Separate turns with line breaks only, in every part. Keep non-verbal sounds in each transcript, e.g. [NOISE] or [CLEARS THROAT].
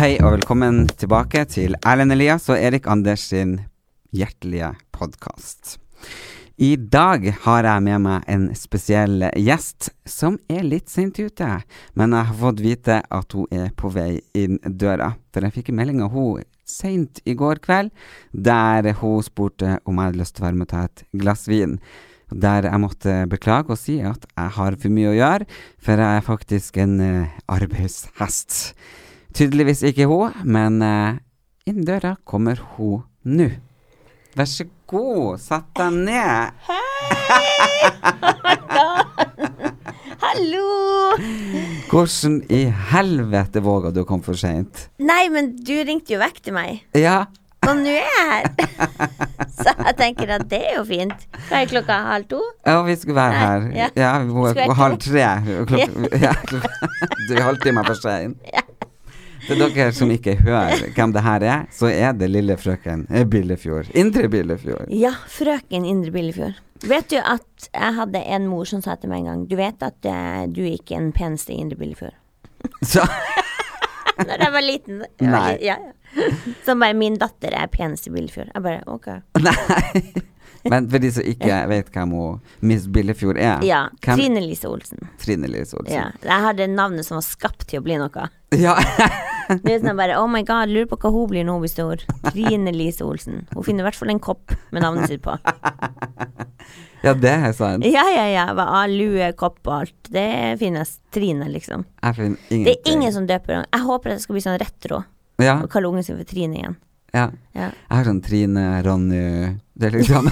Hei og velkommen tilbake til Erlend Elias og Erik Anders sin hjertelige podkast. I dag har jeg med meg en spesiell gjest som er litt sent ute, men jeg har fått vite at hun er på vei inn døra. For jeg fikk en melding av hun seint i går kveld, der hun spurte om jeg hadde lyst til å være med og ta et glass vin. Der jeg måtte beklage og si at jeg har for mye å gjøre, for jeg er faktisk en eh, arbeidshest. Tydeligvis ikke hun, men eh, inn døra kommer hun nå. Vær så god, sett deg ned.
Hallo!
Hvordan i helvete våga du å komme for seint?
Nei, men du ringte jo vekk til meg,
Ja,
og nå er jeg her. [LAUGHS] Så jeg tenker at det er jo fint. Hva er klokka? Halv to?
ja, vi skulle være her.
Nei,
Ja,
ja.
hun er
Skulle jeg
på halv tre. og Klok ja, [LAUGHS] klok du er halvtime for
[LAUGHS]
sein. Til dere som ikke hører hvem det her er, så er det lille frøken eh, Billefjord. Indre Billefjord.
Ja, frøken Indre Billefjord. Vet du at jeg hadde en mor som sa til meg en gang Du vet at eh, du er ikke den peneste i Indre Billefjord.
Så,
Når jeg var [LAUGHS] liten. Jeg var
Nei.
li- ja, ja. Som bare Min datter er penest i Billefjord. Jeg bare OK.
nei. Men for de som ikke vet hvem hun Miss Billefjord er
Ja.
hvem-
Trine Lise Olsen.
Trine Lise Olsen.
Ja. Jeg hadde navnet som var skapt til å bli noe.
Ja. [LAUGHS]
Det er sånn bare, oh my god, lurer på hva hun blir når hun blir stor. Trine Lise Olsen. Hun finner i hvert fall en kopp med navnet sitt på.
[LAUGHS] ja, det er sant.
Ja, ja, ja. Hva, ah, lue, kopp og alt. Det finnes Trine, liksom.
Jeg finner ingenting.
Det er ingen som døper henne. Jeg håper at det skal bli sånn retro.
Ja,
Å kalle ungen sin for Trine
[LAUGHS]
igjen.
ja.
Ja.
Jeg har sånn Trine, Ronny Det er liksom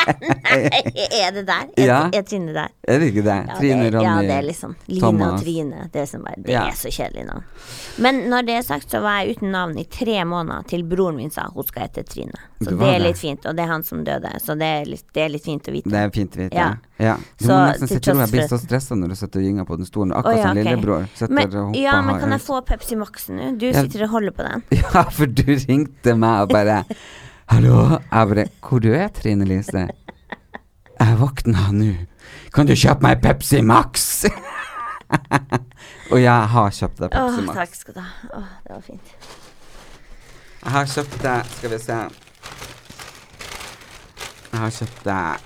er det der? Er,
Ja.
er Trine der?
Er det ikke det?
Ja,
Trine,
det,
Ronny,
ja, det er liksom Line
Thomas.
og Trine. Det er, sånn bare, det
Ja.
er så kjedelig navn. Men når det er sagt, så var jeg uten navn i tre måneder til broren min sa hun skal hete Trine.
Det
Så
var
det er
det.
litt fint, og det er han som døde, så det er litt, det er litt fint å vite.
Det er fint å vite. Ja.
Ja.
ja. Du må
Så,
nesten
til
se til
tross
jeg blir
for-
så stressa når du sitter og gynger på den stolen,
Å,
akkurat
ja,
som
ok.
Altså, lillebror. Sitter
men,
og hopper
ja, men
og-
kan jeg få Pepsi Max nå? Du
Ja.
sitter og holder på den.
[LAUGHS] Ja, for du ringte meg og
[LAUGHS]
bare Hallo? Jeg bare Hvor du er Trine Lise? Jeg våkna nå. Kan du kjøpe meg Pepsi Max? [LAUGHS] og jeg har kjøpt deg
Åh,
Pepsi Max.
takk skal du ha. Åh, det var fint.
Jeg har kjøpt deg Skal vi se. Jeg har kjøpt deg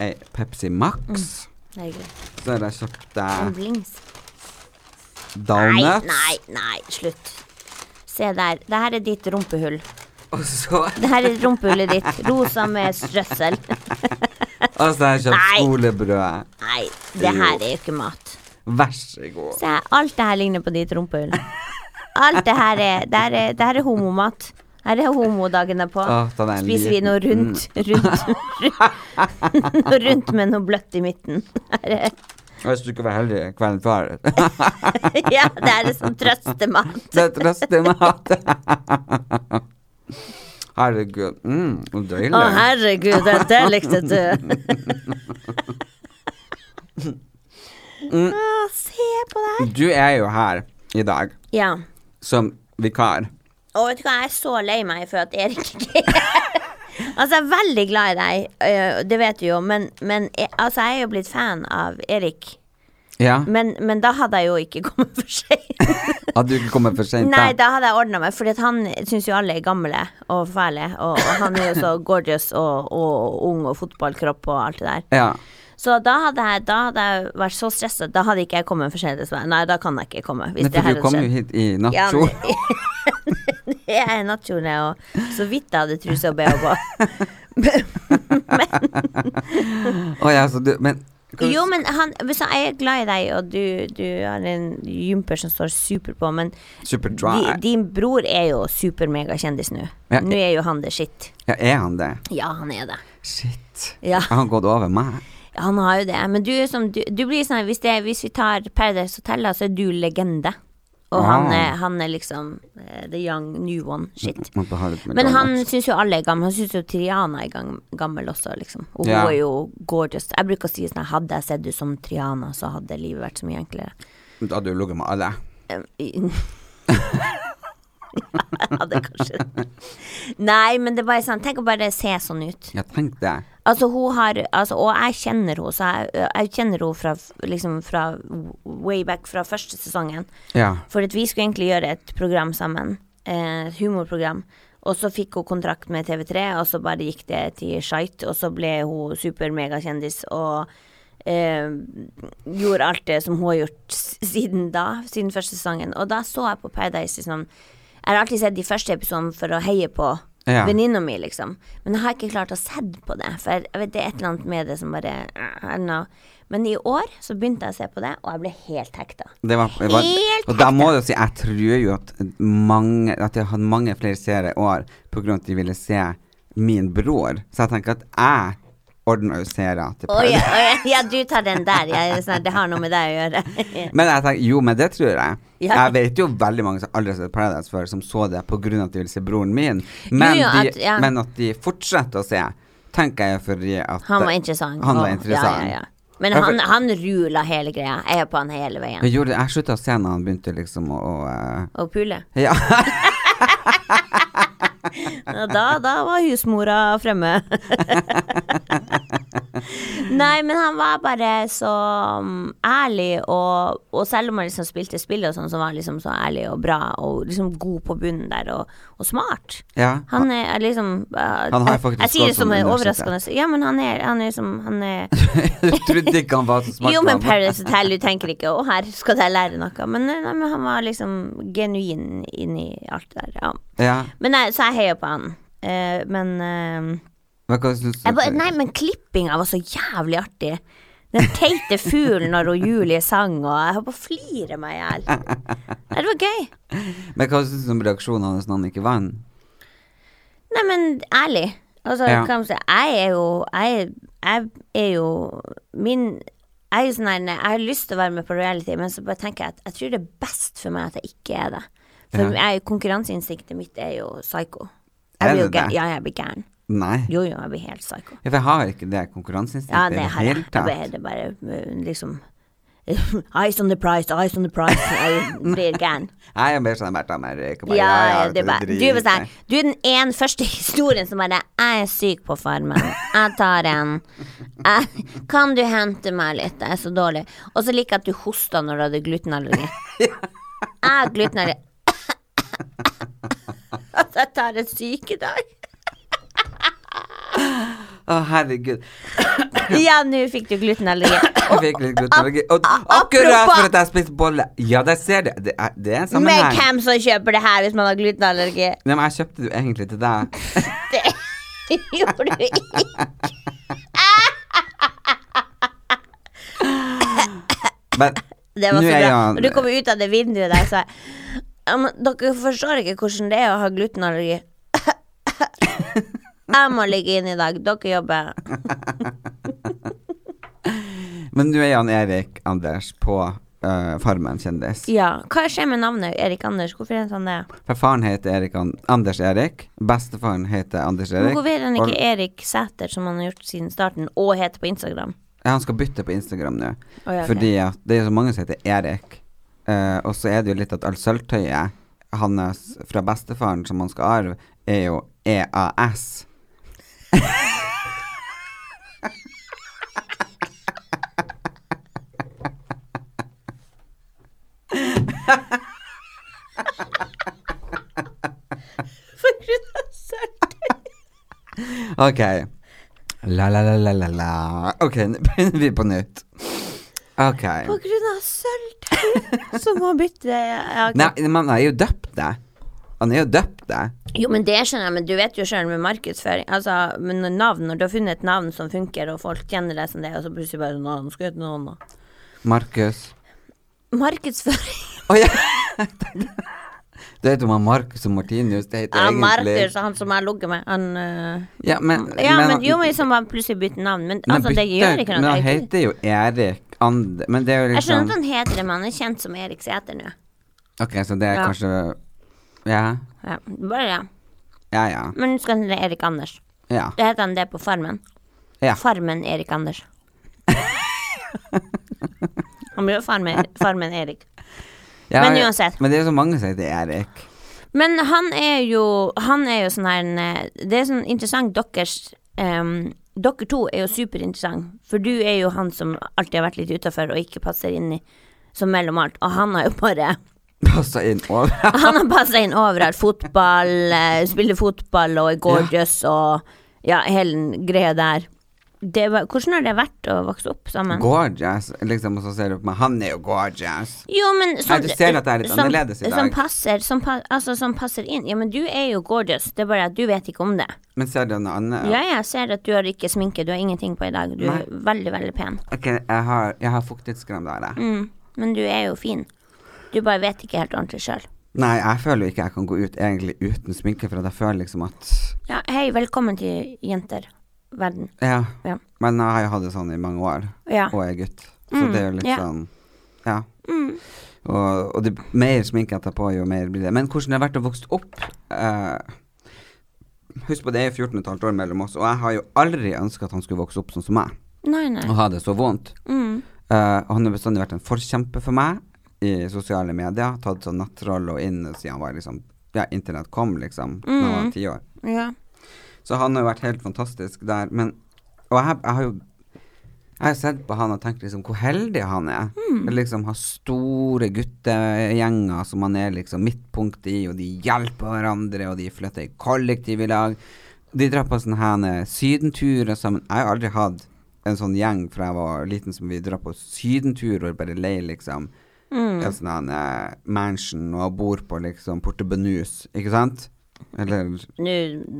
ei Pepsi Max.
Herregud.
Så har jeg kjøpt
En
deg
blings. Nei,
Donuts.
nei, nei, slutt. Se der. Det her er ditt rumpehull.
Og så
Det her er rumpehullet ditt. Rosa med strøssel. [LAUGHS]
og så har jeg kjøpt
Nei.
skolebrød.
Nei, det her er jo ikke mat.
Vær så god.
Se, her, alt det her ligner på ditt rumpehull. Alt det her er Det her er, det her er homomat. Her er homodagen derpå.
Åh, den er
Spiser vi
liten. Mm.
noe rundt, rundt, noe rundt med noe bløtt i midten. Her er
Hvis du ikke var heldig kvelden [LAUGHS] før.
ja, det er liksom trøstemat.
Det er trøstemat. [LAUGHS] Herregud. Mm, så deilig.
Å, herregud, det, det likte du.
Mm.
Å, se på det her.
Du er jo her i dag
Ja.
som vikar.
Og vet du hva, jeg er så lei meg for at Erik ikke er her. [LAUGHS] Altså, jeg er veldig glad i deg, øh, det vet du jo, men, men jeg, altså, jeg er jo blitt fan av Erik.
Ja.
Men, men da hadde jeg jo ikke [LAUGHS] kommet for seint.
At du ikke kommer for sent.
Nei, da hadde jeg ordna meg, for han syns jo alle er gamle og fæle. Og, og han er jo så gorgeous og, og ung og fotballkropp og alt det der.
Ja.
Så da hadde jeg, da hadde jeg vært så stressa. Da hadde ikke jeg kommet for sent. dessverre. Nei, da kan jeg ikke komme. Hvis [LAUGHS]
Nei,
det
for
her
du kom
hadde
jo hit
skjedd.
i
Ja,
nattkjole.
men- jeg er i nattkjole og så vidt jeg hadde truse og bh på.
Å ja, så du Men hva-
Jo, men han så er jeg glad i deg, og du, du har en jumper som står super på, men
Superdry.
di, din bror er jo super-megakjendis nå.
Ja.
Nå er jo han det shit.
Ja, er han det?
Ja, han er det.
Shit.
Ja.
Har han gått over meg?
Han har jo det, men du, er som, du, du blir sånn hvis, det, hvis vi tar Paradise Hotel, da, så er du legende. Og han,
Ah.
er, han er liksom eh, the young new one shit.
Måtte ha litt
Men han
medalje.
syns jo alle er gamle. Han syns jo Triana er gam- gammel også, liksom. Og hun
Ja.
er jo gorgeous. Jeg bruker å si sånn Hadde jeg sett ut som Triana, så hadde livet vært så mye enklere.
Da hadde du ligget med alle.
Eh, i- [LAUGHS] Jeg hadde kanskje Nei, men det er bare sånn Tenk å bare se sånn ut.
Ja, tenk det.
Altså, hun har altså, Og jeg kjenner henne, så jeg, jeg kjenner henne fra, liksom, fra way back fra første sesongen.
Ja.
For at vi skulle egentlig gjøre et program sammen, eh, et humorprogram. Og så fikk hun kontrakt med TV3, og så bare gikk det til skeit, og så ble hun super-megakjendis og eh, gjorde alt det som hun har gjort s- siden da, siden første sesongen. Og da så jeg på Paradise liksom Jeg har alltid sett de første episodene for å heie på
Ja.
venninna mi, liksom. Men jeg har ikke klart å se på det, for jeg, jeg vet, det er et eller annet med det som bare eh, I don't know. Men i år så begynte jeg å se på det, og jeg ble helt hekta.
Det var, det var,
Helt
og da må jeg jo si jeg tror jo at mange At jeg har hatt mange flere seere i år pga. at de ville se min bror. Så jeg tenker at jeg ordner jo seere til
Å
Paradise.
ja, å ja, ja, du tar den der. Jeg er sånn, det har noe med deg å gjøre.
[LAUGHS] Men jeg tenker, jo, men det tror jeg.
Ja.
Jeg vet jo veldig mange som aldri har sett Paradise før, som så det pga. at de ville se broren min. Men,
Jo, jo,
de,
at- ja.
men at de fortsetter å se, tenker jeg fordi at
Han var interessant.
Han
og-
var interessant.
Ja, ja, ja. Men
Ja, for-
han, han rula hele greia. Jeg er på han hele veien.
Jeg, gjorde- jeg slutta å se når han begynte liksom å, å eh, [LAUGHS]
Og Pule.
Ja.
Ja, Da, da var husmora fremme. [LAUGHS] Nei, men han var bare så mm, ærlig, og, og selv om han liksom spilte spill og sånn, så var han liksom så ærlig og bra, og liksom god på bunnen der, og, og smart.
ja. [LAUGHS]
Han er er liksom eh,
Han har
jeg-
faktisk
Jeg sier
gått
det som
som
er
universitet.
overraskende. Ja, men han er, han er liksom Han er
Du trodde ikke han var så [LAUGHS] smart?
Jo,
men
men
han var-
Paradise Hotel, du tenker ikke 'Å, her skal jeg lære noe', men, eh, nei, men han var liksom genuin inni alt det der. Ja.
Ja.
Men nei, så jeg heier på han. Eh, men eh,
Hva, hva syns du?
jeg bare, Nei, men klippinga var så jævlig artig. Den teite fuglen når hun Julie sang, og jeg holdt på å flire meg i
[LAUGHS]
hjel. Nei, Det var gøy.
Men hva syns du om reaksjonen hans når han ikke vant?
Nei, men ærlig. Altså,
Ja.
hva man sier, jeg er jo jeg, jeg er jo min jeg, er jo sånn her, nei, jeg har lyst til å være med på reality, men så bare tenker jeg at jeg tror det er best for meg at jeg ikke er det. For jeg, konkurranseinstinktet mitt er jo psycho.
Er
Jeg blir jo
det
gæren.
det?
Ja, jeg blir gæren.
Nei.
Jo, jo, jeg blir helt psycho.
Ja, for jeg har ikke det
Ja,
konkurranseinstinktet
det har jeg. Jeg bare, det er bare eh, liksom [LAUGHS] Eyes on the price, eyes on the price. Jeg blir gæren.
Jeg er mer sånn Bertha Merrick.
Ja, det er bare, du, er bare sånn, du er den ene første [LAUGHS] historien som bare Jeg er syk på farmen. Jeg tar en. Jeg, kan du hente meg litt? Jeg er så dårlig. Og så liker jeg at du hosta når du hadde [LAUGHS] glutenallergi. Jeg har glutenallergi. [LAUGHS] At jeg tar en [LAUGHS] sykedag.
Å, herregud.
Ja, nå fikk du glutenallergi.
Jeg fikk litt glutenallergi. Og akkurat
apropos-
for at jeg spiste bolle. Ja, der ser du. Det er, det er en
Men
sammenheng.
hvem som kjøper det her hvis man har glutenallergi? [LAUGHS]
Nei, men jeg kjøpte det jo egentlig til deg.
Det gjorde du ikke.
Men
[LAUGHS] Det var
nå
så
er jo
bra.
han-
Og du kom ut av det vinduet der, så jeg «Ja, men Dere forstår ikke hvordan det er å ha glutenallergi. [LAUGHS] Jeg må ligge inne i dag. Dere jobber.
Men nå er Jan Erik Anders på eh, Farmen kjendis.
Ja. Hva skjer med navnet Erik Anders? Hvorfor er han sånn det?
For faren heter Erik An Anders Erik. Bestefaren heter Anders Erik.
Men Hvorfor er han ikke E-
og,
Erik Sæter, som han har gjort siden starten, og heter på Instagram?
ja, han skal bytte på Instagram nå.
Å, ja, ok.
Fordi at det er så mange som heter Erik. Eh, og så er det jo litt at alt sølvtøyet hans fra bestefaren som han skal arve, er jo E EAS. OK. La-la-la-la-la. OK, [LAUGHS] nå begynner vi på nytt. OK.
På [LAUGHS] grunn av sølvtøy, så må han bytte ja, ok.
Nei, man er jo døpt det. Han er jo døpt, det.
Jo, men det skjønner jeg, men du vet jo sjøl med markedsføring Altså, men når navn, når du har funnet et navn som funker, og folk kjenner deg som det, og så plutselig bare sånn «Å, nå skal jeg hete noe annet.
Markus.
Markedsføring
Å ja! [LAUGHS] Det heter man Markus og Martinius. Det heter
Ja,
egentlig
Markus, han som jeg ligger med, han øh,
Ja, men,
Ja, men, jo, men liksom bare plutselig bytte navn. Men
men
altså, det
bytte-
gjør ikke
Men
noe.
han
Jeg,
heter jo Erik And... Men det er jo
jeg skjønner
liksom
at han heter det, men han er kjent som Erik Sæter nå.
Ok, så det er
Ja.
kanskje Ja,
Ja, bare ja.
ja, ja.
Men nå skal han hete Erik Anders.
ja.
Da heter han det på Farmen.
Ja.
Farmen Erik
[LAUGHS]
Anders. han blir jo farmen, farmen Erik.
ja
men uansett.
Men det er jo så mange som heter Erik. [LAUGHS]
Men han er jo Han er jo sånn her en, eh, Det er sånn interessant deres em, Dere to er jo superinteressant For du er jo han som alltid har vært litt utenfor Og ikke passer inn i Som mellom alt Og han har jo bare
Passa inn over.
Han har passet inn overalt Fotball eh, Spiller fotball Og er gorgeous Og ja, hele den greia der det var, Hvordan har det vært å vokse opp sammen?
Gorgeous. Liksom, og så ser du på meg. Han er jo gorgeous.
Jo, men
Nei, du
sånn,
ser at jeg er litt
som-
annerledes i dag.
Som passer, som, pa, altså, som passer inn Ja, men du er jo gorgeous Det er bare at du vet ikke om det
Men ser du noe annet?
Ja, jeg ser at du har ikke sminke, du har ingenting på i dag. Du
Nei.
er veldig, veldig pen.
Ok, jeg har, jeg har fuktighetskrem der, jeg.
Mm. Men du er jo fin. Du bare vet ikke helt ordentlig sjøl.
Nei, jeg føler jo ikke jeg kan gå ut egentlig uten sminke, for at jeg føler liksom at
Ja, hei, velkommen til jenter. Verden.
Ja.
Ja.
Men jeg har jo hatt det sånn i mange år,
Ja. Mm,
og jeg er gutt. Så det er jo litt
ja. Mm.
sånn Ja. Og, og det, mer sminke jeg tar på, jo mer blir det. Men hvordan det har vært å vokse opp eh, Husk på det er jo 14 15 år mellom oss, og jeg har jo aldri ønska at han skulle vokse opp sånn som meg.
Nei, nei.
og ha det så vondt. Eh, og han har bestandig vært en forkjemper for meg i sosiale medier. Tatt sånn nattroll og inn siden han var liksom Ja, internett kom, liksom, da han var ti år.
Ja.
Så han har jo vært helt fantastisk der. Men Og jeg, jeg har jo jeg har sett på han og tenkt liksom hvor heldig han er. Liksom Har store guttegjenger som han er liksom midtpunkt i, og de hjelper hverandre, og de flytter i kollektiv i lag. De drar på sånne her eh, sydenturer sammen. Jeg har aldri hatt en sånn gjeng fra jeg var liten som vi drar på sydentur og bare leier liksom en sånn her, eh, mansion og bor på liksom Porte Benus, ikke sant? Eller
Nå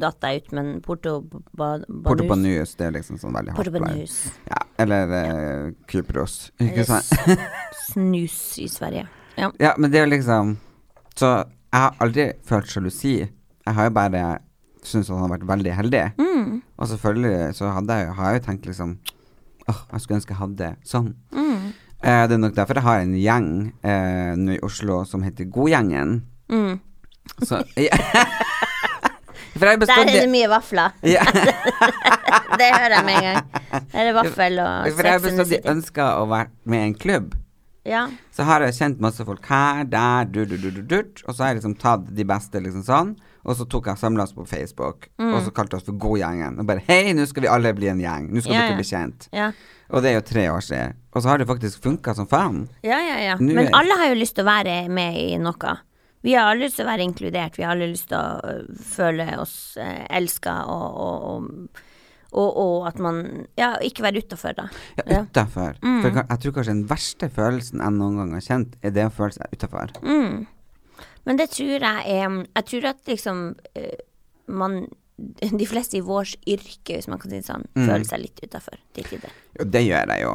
datt jeg ut, men Porto ba,
Porto
Banus-
Banus, det er liksom sånn veldig
Porto
hardcore.
Banus.
Ja, eller eh, Kypros. Ikke sant? [LAUGHS]
Snus i Sverige. Ja.
Ja, men det er jo liksom Så jeg har aldri følt sjalusi. Jeg har jo bare syntes at han har vært veldig heldig.
Mm.
Og selvfølgelig så hadde jeg, har jeg jo tenkt liksom Åh, jeg skulle ønske jeg hadde det sånn.
Mm.
Eh, det er nok derfor jeg har en gjeng eh, nå i Oslo som heter Godgjengen.
[LAUGHS]
Så For jeg har
Mm. Der er
bestandig
det mye vafler.
Ja.
Det hører jeg med en
[LAUGHS]
gang. Der er det vaffel og
For jeg har
Sex and the
bestandig
City.
ønska å være med i en klubb.
Ja.
Så har jeg kjent masse folk her, der, du, du, du, du, du, og så har jeg liksom tatt de beste, liksom sånn. Og så tok jeg samla oss på Facebook,
Mm.
og så kalte oss for Godgjengen. Og bare hei, nå skal vi alle bli en gjeng. Nå skal
Ja,
dere
ja.
bli kjent.
Ja.
Og det er jo tre år siden. Og så har det faktisk funka som faen.
Ja, ja, ja.
Nå
Men
er-
alle har jo lyst til å være med i noe. Vi har alle lyst til å være inkludert. Vi har alle lyst til å øh, føle oss eh, elska og, og, og, og, og at man Ja, ikke være utafor, da.
Ja, utafor.
Mm.
For ka- jeg tror kanskje den verste følelsen jeg noen gang har kjent, er det å føle seg utafor.
Mm. Men det tror jeg er Jeg tror at liksom eh, man [LAUGHS] De fleste i vårt yrke, hvis man kan si det sånn, føler seg litt utafor til tider.
Jo, det gjør Mm. jeg jo.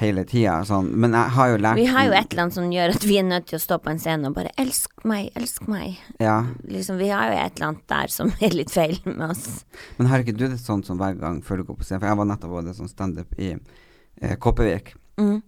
Hele tida sånn. Men jeg har jo lært
Mm. Vi har jo et eller annet som gjør at vi er nødt til å stå på en scene og bare 'Elsk meg, elsk meg'.
ja.
Liksom, vi har jo et eller annet der som er litt feil med oss.
Men har ikke du det sånn som hver gang før du går på scenen? For jeg var nettopp både sånn standup i eh, Kopervik.
Mm.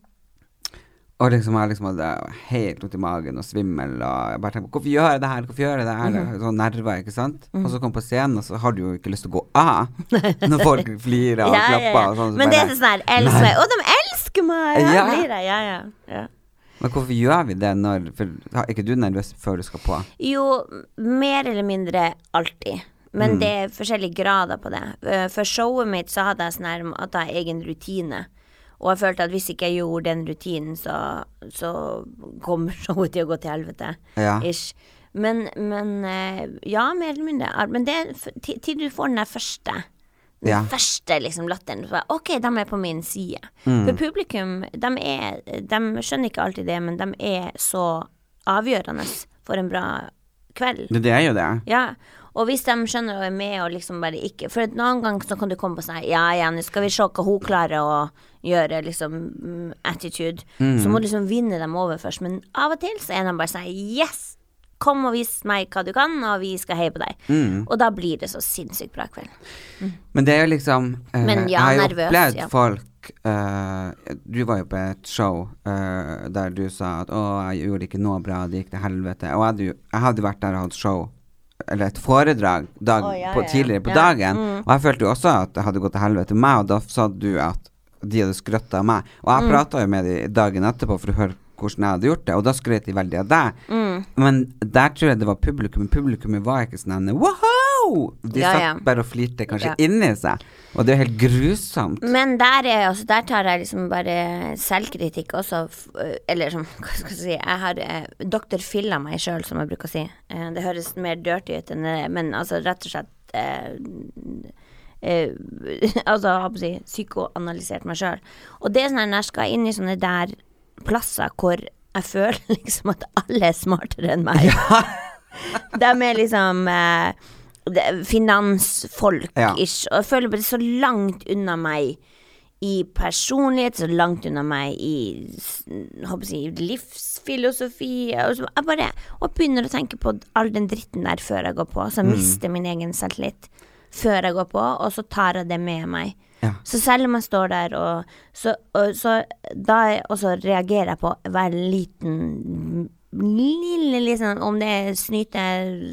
Og liksom jeg liksom hadde helt vondt i magen og svimmel og jeg bare tenkte Hvorfor gjør jeg det her? Hvorfor gjør jeg det her?
Mm.
Sånn nerver, ikke sant? Og så kom jeg på scenen, og så har du jo ikke lyst til å gå av
[LAUGHS]
når folk flirer og
Ja, ja, ja.
klapper og sånn. så
Men det
bare,
er sånn her Elsk meg. Å, de elsker meg! Ja,
Ja.
Blir jeg. Ja, ja, ja.
Men hvorfor gjør vi det når for, Er ikke du nervøs før du skal på?
Jo, mer eller mindre alltid.
Mm.
Men det er forskjellige grader på det. Eh, For showet mitt så hadde jeg sånn her at jeg har egen rutine. Og jeg følte at hvis ikke jeg gjorde den rutinen, så, så kommer [LAUGHS] showet til å gå til helvete.
Ja.
Ish. Men, men eh, ja, mer eller mindre. Ar- Men det er f- til til du får den der første. Den
Ja.
første liksom latteren. Så bare, OK, de er på min side. For publikum, de, er, de skjønner ikke alltid det, men de er så avgjørende for en bra kveld.
Det, det er jo det.
Ja, og hvis de skjønner og er med og liksom bare ikke For en annen gang så kan du komme på sånn her, Ja, ja, nå skal vi se hva hun klarer å gjøre, liksom mm, attitude. Så må du liksom vinne dem over først. Men av og til så er de bare sånn Yes! Kom og vis meg hva du kan, og vi skal heie på deg. Og da blir det så sinnssykt bra kveld.
Men det er jo liksom eh,
Men ja,
Jeg har jo
nervøs,
opplevd
ja.
folk eh, Du var jo på et show eh, der du sa at 'Å, jeg gjorde ikke noe bra, det gikk til helvete'. Og jeg hadde, jo- jeg hadde vært der og hatt show, eller et foredrag, dag,
Å, ja,
på,
ja, ja.
tidligere på
Ja, Mm.
dagen. Og jeg følte jo også at det hadde gått til helvete med meg, og da sa du at de hadde skrøtt av meg. Og
Mm.
jeg pratet prata jo med de dagen etterpå for å høre hvordan jeg hadde gjort det, og da skrøt de veldig av deg.
Mm.
Men der tror jeg det var publikum. Publikummet var ikke sånn en wow! De
Ja,
satt
ja.
bare og flirte kanskje
Ja.
inni seg, og det er jo helt grusomt.
Men der, er, altså, der tar jeg liksom bare selvkritikk også. f- øh, Eller sånn, [LAUGHS] hva skal jeg si Jeg har eh, Dr. Phil av meg sjøl, som jeg bruker å si. Eh, det høres mer dirty ut enn det er, men altså rett og slett eh, eh, [LAUGHS] Altså, hva skal jeg si Psykoanalysert meg sjøl. Og det er sånn her, når jeg skal inn i sånne der plasser hvor jeg [LAUGHS] føler liksom at alle er smartere enn meg. [LAUGHS] De er liksom eh, det-
Ja.
finansfolk-ish. Og jeg føler bare det er så langt unna meg i personlighet, så langt unna meg i s- håper jeg, å si, livsfilosofi. Og, så, jeg bare, og begynner å tenke på all den dritten der før jeg går på, så jeg mister min egen selvtillit før jeg går på, og så tar jeg det med meg.
Ja.
Så selv om jeg står der og Så, og, så da er- og så reagerer jeg på hver liten Lille, liksom Om det er snyte,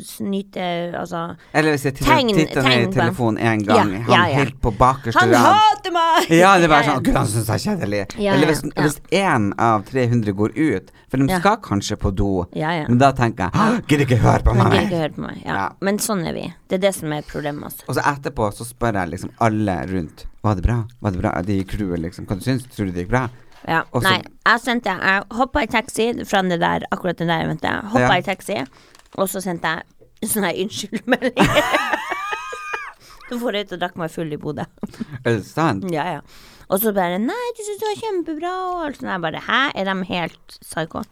snyte Altså
Eller hvis jeg titter,
Tegn-
titter ned
tegn
i
på-
telefonen én gang,
Ja,
han
ja, ja.
helt på bakerste
Han hater meg!
Ja, det er bare
Ja, ja.
sånn Gud, han syns jeg er kjedelig.
Ja,
Eller
ja,
hvis
ja.
hvis én av 300 går ut, for de
Ja.
skal kanskje på do,
Ja, ja.
men da tenker jeg «Hå, Gidder ikke høre på
Man
meg
gidder ikke
mer.
høre på meg. Ja.
Ja.
Men sånn er vi. Det er det som er problemet. Altså.
Og så etterpå så spør jeg liksom alle rundt Var det bra? Var det bra? De i crewet, liksom. Hva du syns du? Tror du det gikk bra?
Ja.
Og så-
Nei, jeg sendte Jeg hoppa i taxi fra det der, akkurat det der eventet. Jeg
Ja.
Hoppa i taxi, og så sendte jeg sånn her unnskyldmelding.
[LAUGHS]
Så for jeg ut og drakk meg full i Bodø.
Er det sant?
Ja, ja. Og så bare 'Nei, du syns det var kjempebra', og alt sånt. Jeg bare 'Hæ, er de helt psyko?'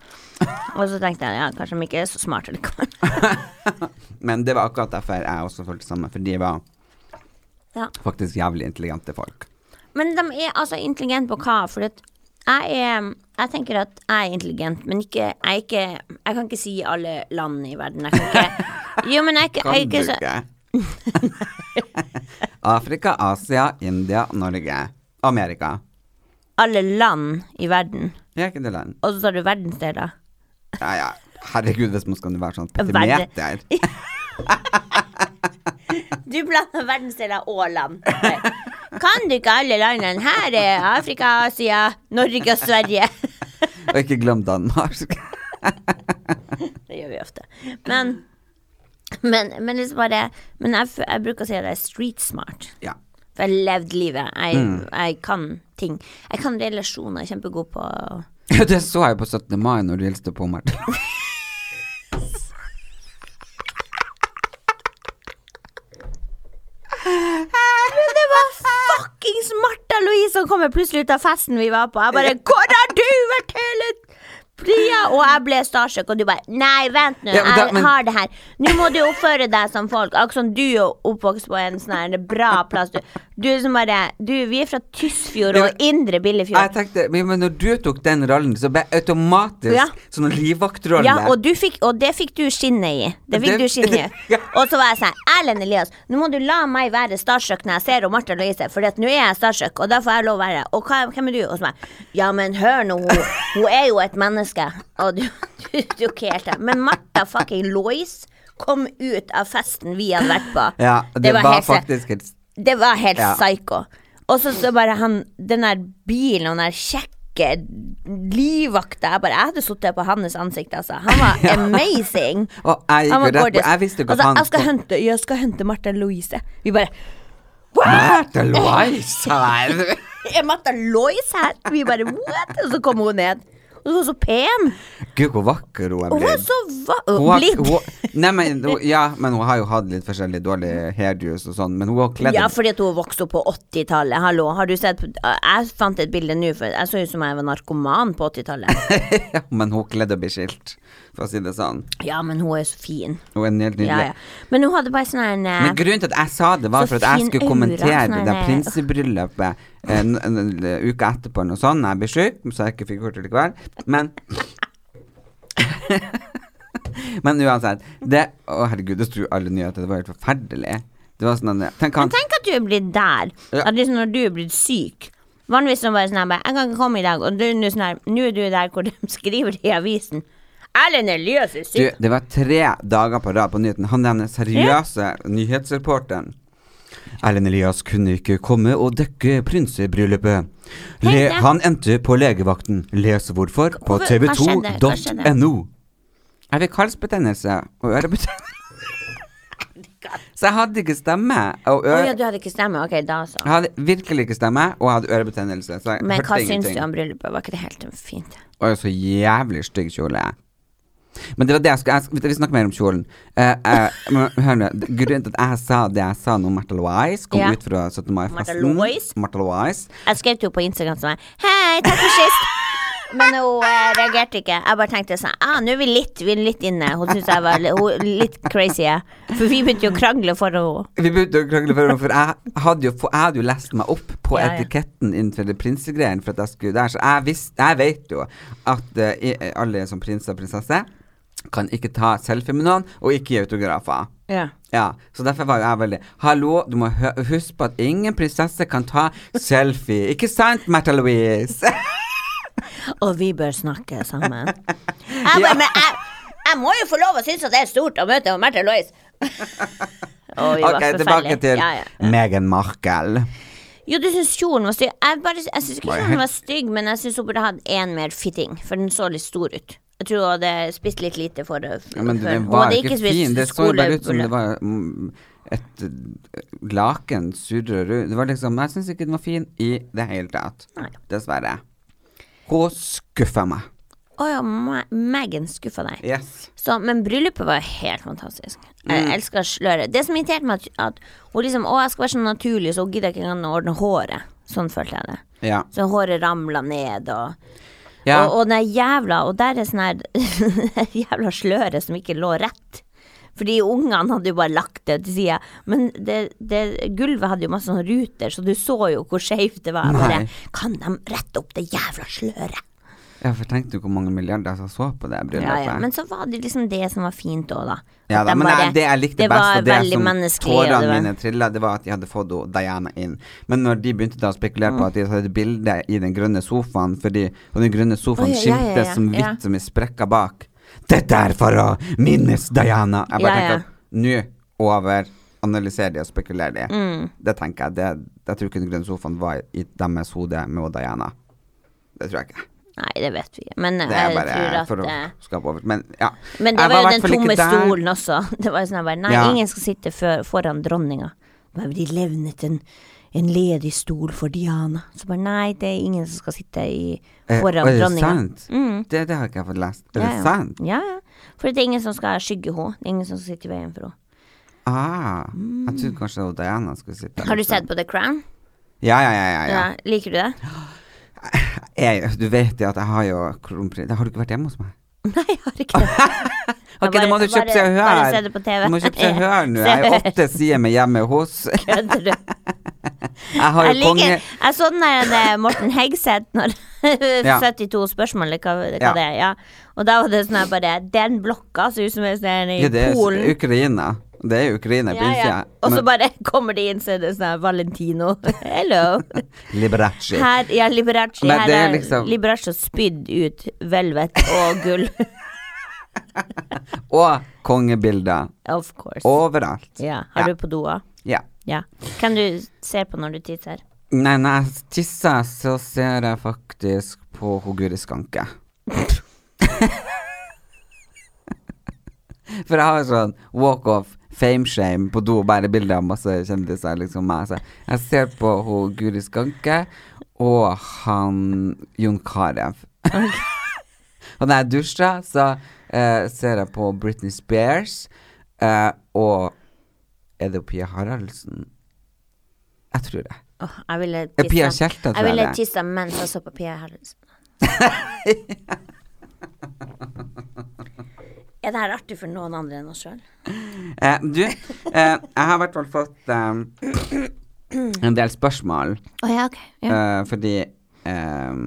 og så tenkte jeg ja, kanskje de ikke er så smarte likevel.
Men det var akkurat derfor jeg også følte det samme, for de var
[LAUGHS] Ja.
faktisk jævlig intelligente folk.
Men de er altså intelligente på hva? For at jeg er Jeg tenker at jeg er intelligent, men ikke Jeg, er ikke, jeg kan ikke si alle land i verden. Jeg kan
[LAUGHS]
ikke Jo, men jeg, er ikke-
Kan
jeg, er
du
ikke så,
ikke? [LAUGHS] Afrika, Asia, India, Norge. Amerika.
Alle land i verden.
Jeg er ikke det land.
Og så tar du verdensdeler.
Ja, ja. Herregud, hvis man skal være sånn
Verre.
petimeter.
Du blander verdensdeler og land. [LAUGHS] Kan du ikke alle landene? Her er Afrika, Asia, Norge og Sverige. [LAUGHS]
Og ikke glem Danmark. [LAUGHS]
Det gjør vi ofte. Men men, men liksom bare Men jeg, f- jeg bruker å si at jeg er street smart.
ja.
For jeg har levd livet. Jeg,
Mm.
jeg kan ting. Jeg kan relasjoner. Jeg er kjempegod på
Det så jeg på 17. mai når du hilste på
[LAUGHS]
Martin.
Men det var fuckings Martha Louise som kommer plutselig ut av festen vi var på. Jeg bare 'Hvor har du vært hele tida?' Og jeg ble starstruck, og du bare 'Nei, vent nå,
Ja, men da-
jeg
men-
har det her'. 'Nå må du oppføre deg som folk'. Akkurat som du er oppvokst på en sånn her bra plass. Du, du er som bare Du, vi er fra Tysfjord
Ja,
og Indre
Jeg
Billefjord.
tenkte, men men når du tok den rollen, så ble jeg automatisk
Ja.
sånn livvaktrolle.
Ja, og, du fikk, og det fikk du skinne i. Det fikk
Det-
du skinne i.
[LAUGHS] Ja.
Og så var jeg sånn Erlend Elias, nå må du la meg være starstruck når jeg ser hun Martha Louise, for nå er jeg starstruck, og da får jeg lov å være Og hva, hvem er du? Og så meg Ja, men hør nå, hun, hun er jo et menneske. Og du, [LAUGHS] du, du er ikke helt der. Men Martha fucking Louise kom ut av festen vi hadde vært på.
Ja, det, var,
helt se-
faktisk et
det var helt
Ja.
psycho. Og så, så bare han Den der bilen og den der kjekke livvakta Jeg bare, jeg hadde sittet på hans ansikt, altså. Han
[LAUGHS]
var amazing.
Og jeg gikk
Han var
jo rett på
gorgeous.
Jeg visste jo ikke at
Altså,
han
jeg skal hente, jeg skal hente Martha Louise. Vi bare
Märtha Louise
[LAUGHS]
her!
Er Martha Louise her? Vi bare What? Og så kom hun ned. Og så så pen.
Gud, hvor vakker hun er
Og hun var
blitt.
så va
Hun har-
blid.
hun- Nei, men, hun- ja, men hun har jo hatt litt forskjellig dårlig hairdos og sånn, men hun har kledd
Ja, fordi at hun vokste opp på 80-tallet. Hallo, har du sett Jeg fant
[LAUGHS]
et bilde nå, for jeg så ut som jeg var narkoman på 80-tallet.
Men hun kledd og blir skilt. for å si det sånn.
Ja, men hun er så fin.
Hun er helt nydelig.
Ja, ja. Men hun hadde bare sånn her en eh,
Men grunnen til at jeg sa det, var
Så
for at jeg
fin
skulle
aura,
kommentere
sånn
det
er
der
det.
prinsebryllupet eh, n- n- n- uka etterpå eller noe sånt. Jeg ble syk, så jeg ikke fikk gjort det likevel. Men [LAUGHS] Men uansett. Det Å, herregud, det sto jo alle nyheter. Det var helt forferdelig. Det var sånn at- Tenk han
Tenk at du er blitt der.
Ja.
At liksom når du er blitt syk Vanligvis så er det bare sånn her bare, 'Jeg kan ikke komme i dag.' Og du er nå sånn her Nå er du der hvor [LAUGHS] de skriver det i avisen. Erlend Elias er
du,
syk.
Det var tre dager på rad på nyheten. Han den seriøse nyhetsreporteren. Erlend Elias kunne ikke komme og dekke prinsebryllupet.
Hei,
Le,
det-
han endte på legevakten. Les hvorfor på
Hvorfor- hva skjedde? Hva skjedde?
tv2.no. Jeg fikk halsbetennelse og
[LAUGHS]
ørebetennelse. Så jeg hadde ikke stemme. Og
Å
øre,
ja, du hadde ikke stemme. Ok, da så.
eh, Jeg hadde virkelig ikke stemme, og jeg hadde ørebetennelse. Så jeg
Men hva
hørte
syns
ingenting.
du om bryllupet? Var ikke det helt fint?
Og så jævlig stygg kjole. Men det var det jeg skulle jeg, skulle- Vi snakker mer om kjolen. Eh, eh, men hør nå. det- Grunnen til at jeg sa det jeg sa når Martha Louise kom
Ja.
ut fra 17. mai-festen
Martha Louise?
Martha Louise.
Jeg skrev til henne på Instagram som jeg Hei, takk for
[LAUGHS]
sist. Men hun eh, reagerte ikke. Jeg bare tenkte sånn ah, Nå er vi litt, vi er litt inne. Hun syns jeg var li- hun, er litt crazy. ja. For vi begynte jo å krangle for henne.
Vi begynte å krangle for for jeg hadde jo, for jeg hadde jo lest meg opp på
Ja, ja.
etiketten innenfor det prinsegreiene, for at jeg skulle der, så jeg, visste, jeg vet jo at eh, i- alle som prinser og prinsesser kan ikke ta selfie med noen, og ikke gi autografer.
Ja.
Ja, så derfor var jo jeg veldig Hallo, du må hø huske på at ingen prinsesse kan ta
[LAUGHS]
selfie. Ikke sant, Märtha Louise?
Og vi bør snakke
[LAUGHS]
sammen. Jeg bare, men jeg, jeg må jo få lov å synes at det er stort å møte Märtha
[LAUGHS]
Lois. Oi, det var
ok, tilbake
forferdelig.
til
ja, ja.
Meghan Markle.
Jo, du syns kjolen var stygg. Jeg, bare, jeg syns ikke
Var jeg
kjolen var
helt-
stygg, men jeg syns hun burde hatt én mer fitting, for den så litt stor ut. Jeg tror hun hadde spist litt lite for det.
Ja, men
før.
den
Hun
var
hadde
ikke
spist
fin. Det så jo bare ut som
skolebulle.
det var mm, et eh, laken surra rundt. Det var liksom Jeg syns ikke den var fin i det hele tatt.
Nei.
Dessverre. Hun skuffa meg.
Å ja, Ma- Megan skuffa deg.
Yes.
Så, men bryllupet var helt fantastisk. Jeg
Mm.
elsker sløret. Det som irriterte meg, at at hun liksom Å, jeg skal være så naturlig, så hun gidder ikke engang å ordne håret. Sånn følte jeg det.
Ja.
Så håret ramla ned, og,
ja.
og, og den jævla Og der er sånn her [LAUGHS] jævla sløre som ikke lå rett. Fordi ungene hadde jo bare lagt det til sida. Men det, det, gulvet hadde jo masse sånne ruter, så du så jo hvor skeivt det var. Jeg Bare,
Nei.
kan de rette opp det jævla sløret?
ja, for tenkte du hvor mange milliarder som så på det bryllupet?
Ja, ja. Men så var det liksom det som var fint òg, da.
Ja
At
da,
de
men
bare-
det, det jeg likte
det
best,
var
og det
veldig
som
menneskelig, og det
tårene
var-
mine trilla, det var at de hadde fått hun Diana inn. Men når de begynte da å spekulere
Mm.
på at de hadde et bilde i den grønne sofaen, fordi og den grønne sofaen
Oi, ja, ja,
skimte
ja, ja.
som
Ja.
hvitt som i sprekka bak Dette er for å minnes Diana! Jeg bare
Ja,
tenker
ja.
at nå over analyserer de og spekulerer de.
Mm.
Det tenker jeg. Det, jeg tror ikke den grønne sofaen var i deres hode med hun Diana. Det tror jeg ikke.
Nei, det vet vi. ikke. Men
Det er
jeg tror
bare
at
for å
eh,
skape over. Men ja.
Men det
Jeg i
var jo
hvert
den
fall ikke
tomme
der.
stolen også. [LAUGHS] Det var jo sånn at bare, Nei,
Ja.
ingen skal sitte før, foran dronninga. Bare de levnet en, en ledig stol for Diana. Så bare nei, det er ingen som skal sitte i,
Eh,
foran
og er det
dronninga. Mm,
sant? Det, det har ikke jeg fått lest. Er
Ja,
det
ja.
sant?
Ja, ja. For det er ingen som skal skygge henne. Det er ingen som skal sitte i veien for henne.
Ah, jeg trodde kanskje det var Diana skulle sitte
Mm. Har du
liksom.
sett på The Crown?
Ja, ja, ja. ja, ja.
Ja. Liker du det?
Jeg, du vet jo at jeg har jo kronprins Har du ikke vært hjemme hos meg?
[LAUGHS] Nei, jeg har ikke
[LAUGHS]
det.
Ok,
bare-
da må du
jeg
kjøpe
bare-
seg hør.
bare se det på TV.
Du må
[LAUGHS]
kjøpe seg hør nå.
Se
Jeg er
Hør.
åtte sider med hjemme hos.
Kødder du?
Jeg [LAUGHS] har
Jeg,
jo konge...
liker, jeg så den der eh, Morten Hegseth når [LAUGHS]
Ja.
72 spørsmål, eller hva, hva
Ja.
det er. Ja. Og da var det sånn her bare Den blokka ser ut som en sånn her i
Ja, det
Polen.
er Ukraina. Det er Ukraina,
Ja, ja. Og så
bildet.
bare [LAUGHS] kommer de inn, så er det sånn her Valentino. [LAUGHS]
[LAUGHS]
Hello.
Liberace.
Her, ja, Liberace.
Men
Her
det er
er
liksom-
Liberace spydd ut velvet og gull. [LAUGHS]
Og kongebilder
of course.
overalt.
ja. Har
Ja.
du på doa?
Ja.
Ja. Kan du se på når du tisser?
Nei, når jeg tisser, så ser jeg faktisk på hun Guri Skanke. [LAUGHS] For jeg har sånn walk-off, fame-shame på do, bare bilder av masse kjendiser, liksom meg. Så jeg ser på hun Guri Skanke og han Jon Carew. [LAUGHS] og når jeg dusjer, så eh, ser jeg på Britney Spears eh, og Er det Pia Haraldsen? Jeg tror det.
Åh, jeg ville
Eh, Pia
tissa.
Kjelta, tror
Jeg
jeg
ville
det er.
tissa mens
[LAUGHS]
jeg så på Pia Haraldsen. Er det her artig for noen andre enn oss sjøl?
Eh, du, eh, jeg har i hvert fall fått eh, en del spørsmål,
Å ja, ok.
eh, fordi eh,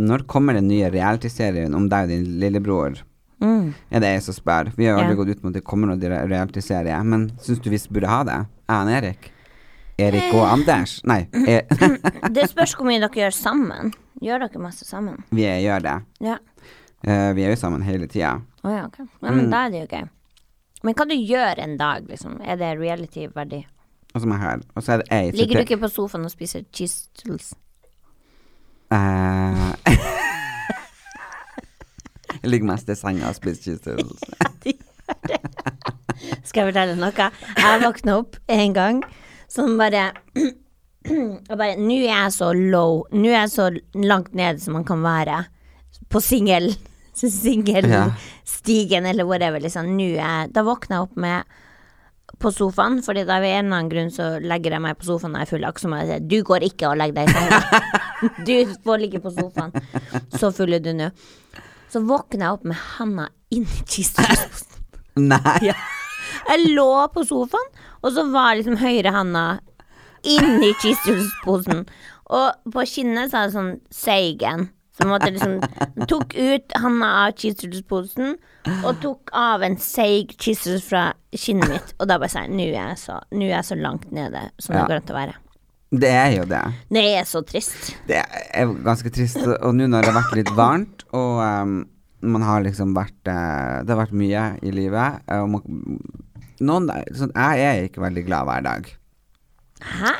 Når kommer den nye realityserien om deg og din lillebror? Er det jeg som spør? Vi har jo aldri
Mm. Ja.
gått ut med at det kommer noen re- realityserie, men syns du vi burde ha det? Jeg og Erik? Erik
Eh.
og Anders? Nei, e- jeg,
[LAUGHS] Det spørs hvor mye dere gjør sammen. Gjør dere masse sammen?
[LAUGHS] vi gjør det.
Ja.
Eh, vi er jo sammen hele tida.
Å ja, ok. Ja,
Mm.
men da er det jo gøy. Men hva du gjør en dag, liksom? Er det reality-verdig?
Og så er jeg her. Og så er det jeg som
Ligger du
til-
ikke på sofaen og spiser cheese toodles?
Eh, [LAUGHS] Jeg ligger mest i senga og spiser cheese doodles.
Skal jeg fortelle noe? Jeg våkna opp en gang som bare [CLEARS THROAT] Og bare Nå er jeg så low. Nå er jeg så langt nede som man kan være på singel. [LAUGHS]
Ja.
Singelstigen eller whatever. Liksom. Nå er jeg Da våkna jeg opp med på sofaen, Fordi da av en eller annen grunn så legger jeg meg på sofaen når jeg er full. Akkurat som jeg sier, du går ikke og legger deg i senga. Du får ligge på sofaen. Så full er du nå. Så våkner jeg opp med handa inni kista.
Nei!
Jeg lå på sofaen, og så var liksom høyre handa inni kistehusposen. Og på kinnet så er det sånn Seigen. Så måtte jeg liksom tok ut handa av kistehusposen og tok av en seig kistehus fra kinnet mitt. Og da bare sa jeg nå er jeg så, nå er jeg så langt nede som
Ja.
det går an til å være.
Det er jo det.
Det er så trist.
Det er jo ganske trist. Og nå når det har vært litt varmt, og ehm, man har liksom vært eh, Det har vært mye i livet. eh, Og man, noen, sånn, jeg er ikke veldig glad hver dag.
Hæ?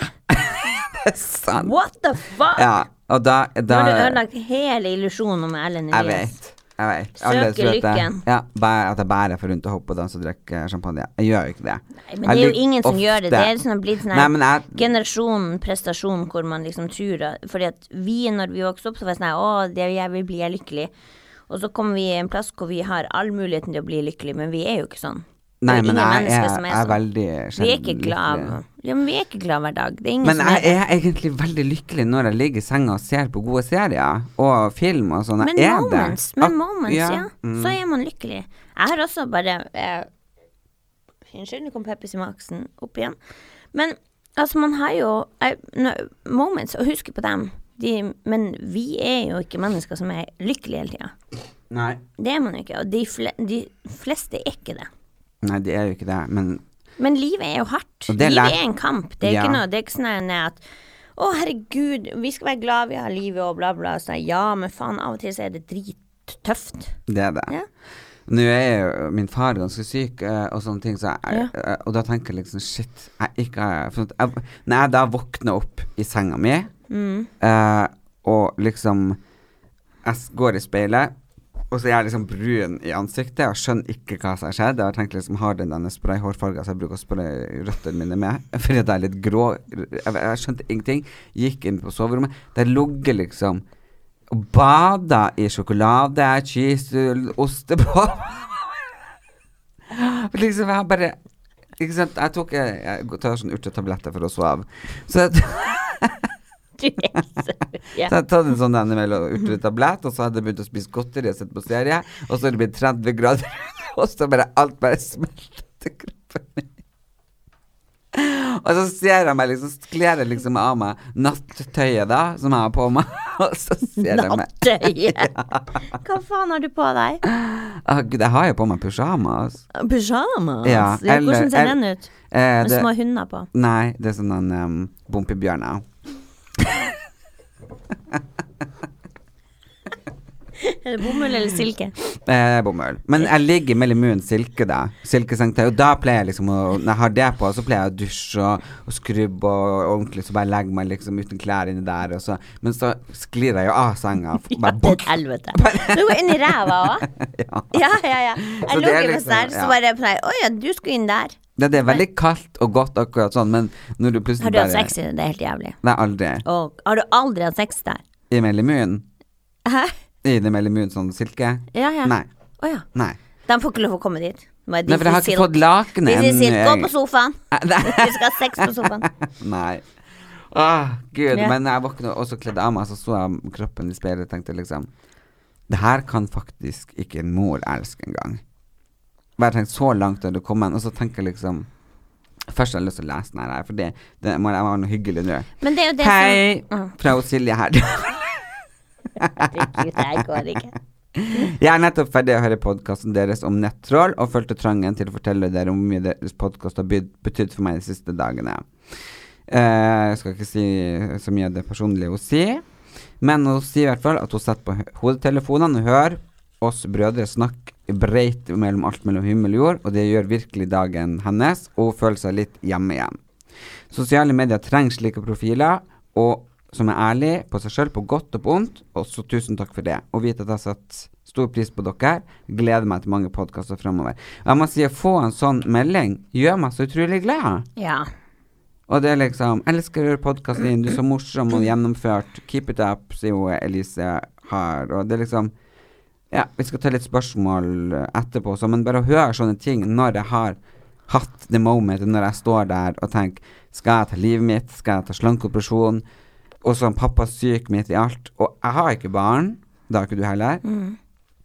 [LAUGHS] Sant?
What the fuck?
Ja, og da,
Nå
da
har du ødelagt hele illusjonen om Ellen
Jeg
Elias.
vet. Jeg vet.
Søker
Alle tror at jeg-
lykken.
Ja, bæ- at jeg bærer for rundt og hopper og danser og drikker eh, champagne. Jeg gjør jo ikke det.
Nei, Men
Jeg
det er jo
lik-
ingen som gjør det. Det
ofte-
er sånn blitt sånn
Nei,
her
men jeg,
generasjonen prestasjon hvor man liksom tror at- Fordi at vi, når vi vokste opp, så var det sånn her, Å, det jeg vil bli, er lykkelig. Og så kommer vi i en plass hvor vi har all muligheten til å bli lykkelig, men vi er jo ikke sånn. Det
nei,
er
men
ingen
jeg,
mennesker
er,
som er
jeg er
sånn.
veldig
Vi er ikke
sjelden
glad
lykkelig.
Ja, men vi er ikke glad hver dag. Det er ingen
Men
som er
jeg
det.
er egentlig veldig lykkelig når jeg ligger i senga og ser på gode serier og film og sånn.
Men
Jeg er
moments,
det.
men
Ak-
moments, ja.
mm.
Så er man lykkelig. Jeg har også bare eh, Unnskyld, nå kom Peppers i maksen opp igjen. Men altså, man har jo eh, nå- moments, og husk på dem. De, men vi er jo ikke mennesker som er lykkelige hele tida.
Nei.
Det er man jo ikke, og de, fle de fleste er ikke det.
nei, det er jo ikke det, men
Men livet er jo hardt.
Og det er
livet
lært-
er en kamp. Det er
Ja.
ikke noe, det er ikke sånn her at å, herregud, vi skal være glad vi har livet og bla, bla. Så, ja, men faen, av og til så er det drittøft.
det er det.
Ja.
Nå er jo min far ganske syk eh, og sånne ting, så jeg,
Ja.
eh, og da tenker jeg liksom shit jeg ikke, har- for at jeg, Når jeg da våkner opp i senga mi,
Mm.
eh, og liksom Jeg s- går i speilet, og så er jeg liksom brun i ansiktet og skjønner ikke hva som har skjedd. Jeg har tenkt liksom, har den denne sprayhårfarga som jeg bruker å spraye røttene mine med? [LAUGHS] Fordi at jeg er litt grå. Jeg, jeg skjønte ingenting. Gikk inn på soverommet. Der ligger liksom og bada i sjokolade, cheese, ostepop. [LAUGHS] liksom, jeg bare Ikke sant, jeg tok Jeg, jeg tar sånn urtetabletter for å sove. Så jeg
Du er så ja.
Så jeg tatt en sånn innimellom og utrydd tablett, og så hadde jeg begynt å spise godteri og sett på serie, og så er det blitt 30 grader, [LAUGHS] og så bare alt bare smelter til kroppen min. Og så ser jeg meg liksom, kler jeg liksom av meg nattøyet da, som jeg har på meg, [LAUGHS] og så ser jeg meg
Nattøye.
[LAUGHS]
Hva faen har du på deg?
Å gud, jeg har jo på meg pysjamas.
Pyjamas?
Ja,
Ja,
eller-
Hvordan ser
eller-
den ut?
Eh,
Med
det-
små hunder på.
Nei, det er sånn en um, bompebjørner.
Er det bomull eller silke?
Eh, bomull. Men jeg ligger mellom munn silke, da. Silkesengetøy. Og da pleier jeg liksom å Når jeg har det på, så pleier jeg å dusje og, og skrubbe og, og ordentlig, så bare legger meg liksom uten klær inni der, og så Men så sklir jeg jo av senga. f-
[LAUGHS] Ja,
Bare
til
bukk.
helvete. Du går inn i ræva
[LAUGHS]
òg? Ja, ja, ja.
Så
Jeg
det er
lå
liksom-
ikke liksom, der, så
ja.
bare pleier Å ja, du skulle inn der.
Det, det er veldig kaldt og godt akkurat sånn, men når du plutselig
Har du hatt sex i det? Det er helt jævlig.
Nei, aldri.
Og, har du aldri hatt sex der?
I mellom munn.
Hæ?
I det mellom munn sånn silke.
Ja, ja.
Nei.
Å ja.
Nei.
De får ikke lov å komme dit. Bare,
Nei, for jeg har ikke fått lakenet
ennå.
ennå,
Gå
jeg-
på sofaen.
Nei.
Du skal ha sex på
[LAUGHS]
sofaen.
Nei. Åh, Ah, gud.
Ja.
Men jeg våkna også kledd av meg, så så jeg kroppen i speilet og tenkte liksom Det her kan faktisk ikke en mor elske engang. bare tenkt så langt har du kommet, og så tenker jeg liksom Først har jeg lyst til å lese den her, for det, det må være noe hyggelig nå.
Men det er jo det
Hei!
som
Fra Silje her. [LAUGHS]
Herregud, det her går ikke.
Jeg er nettopp ferdig å høre podkasten deres om nettroll, og følte trangen til å fortelle dere om hvor mye deres podkast har byd- betydd for meg de siste dagene. Eh, jeg skal ikke si så mye av det personlige hun sier, men hun sier i hvert fall at hun setter på hø- hodetelefonene og hører oss brødre snakke breit mellom alt mellom himmel og jord, og det gjør virkelig dagen hennes, og hun føler seg litt hjemme igjen. Sosiale medier trenger slike profiler, og som er ærlig på seg sjøl, på godt og på vondt. Og så tusen takk for det. Og vite at jeg setter stor pris på dere. Gleder meg til mange podkaster framover. Jeg må si å få en sånn melding gjør meg så utrolig glad.
Ja.
Og det er liksom Elsker å høre podkasten din, du er så morsom og gjennomført. Keep it up, sier hun Elise her. Og det er liksom Ja, vi skal ta litt spørsmål eh, etterpå også, men bare å høre sånne ting når jeg har hatt the moment, når jeg står der og tenker Skal jeg ta livet mitt? Skal jeg ta slankeoperasjon? Og sånn pappa syk midt i alt. Og jeg har ikke barn. Det har ikke du heller.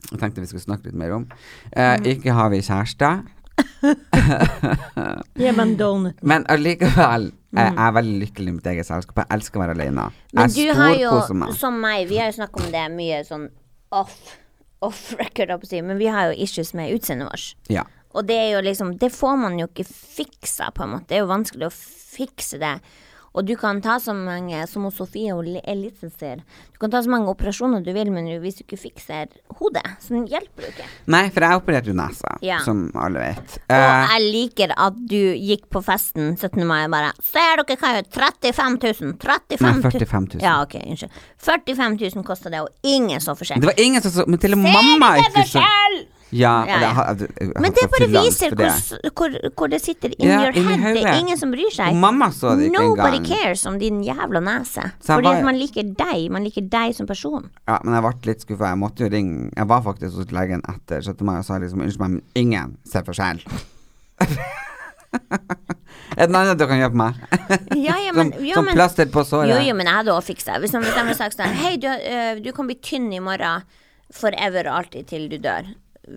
Jeg tenkte vi skulle snakke litt mer om. Eh,
Mm.
Ikke har vi kjæreste.
[LAUGHS] Gi meg en donut. Mm.
Men allikevel, jeg er veldig lykkelig i mitt eget selskap. Jeg elsker å være alene.
Men du
jeg
har jo,
storkoser meg.
som meg, vi har jo snakket om det mye sånn off, off record, holdt på å si, men vi har jo issues med utseendet vårt.
Ja.
Og det er jo liksom Det får man jo ikke fiksa, på en måte. Det er jo vanskelig å fikse det. Og du kan ta så mange Som hos Sofie og Le- Elise ser. Du kan ta så mange operasjoner du vil, men du- hvis du ikke fikser hodet, så hjelper det jo ikke.
Nei, for jeg opererte jo nesa,
Ja.
som alle vet.
Og
Eh,
jeg liker at du gikk på festen 17. mai og bare Ser dere hva jeg gjør? 35 000! 35 000.
Nei, 45 000.
Ja, ok, unnskyld. 45 000 kosta det, og ingen så forskjell.
det var ingen som så Men til og med
Ser
mamma
dere
ikke så
forskjell?
Ja,
Ja,
og det
ja.
har- jeg- jeg har
Men det
fått
bare
fyllangst
viser
for
hvor,
det.
s- hvor, hvor det sitter in
Ja,
your
inni
head. Det
hodet.
er ingen som bryr seg.
Og mamma så det ikke
Nobody
engang.
cares om din jævla nese.
Så jeg
Fordi
var-
at man liker deg. Man liker deg som person.
Ja, men jeg ble litt skuffa. Jeg måtte jo ringe Jeg var faktisk hos legen etter 17. mai og sa liksom Unnskyld meg, men ingen ser forskjell. [LAUGHS] Er det noe annet du kan gjøre på meg?
Ja,
[LAUGHS]
ja,
Som,
men, jo,
som
men,
plaster på såret.
Jo, jo, men jeg hadde også fiksa det. Hvis han- hvis han hadde sagt sånn Hei, du, øh, du kan bli tynn i morgen. Forever og alltid til du dør.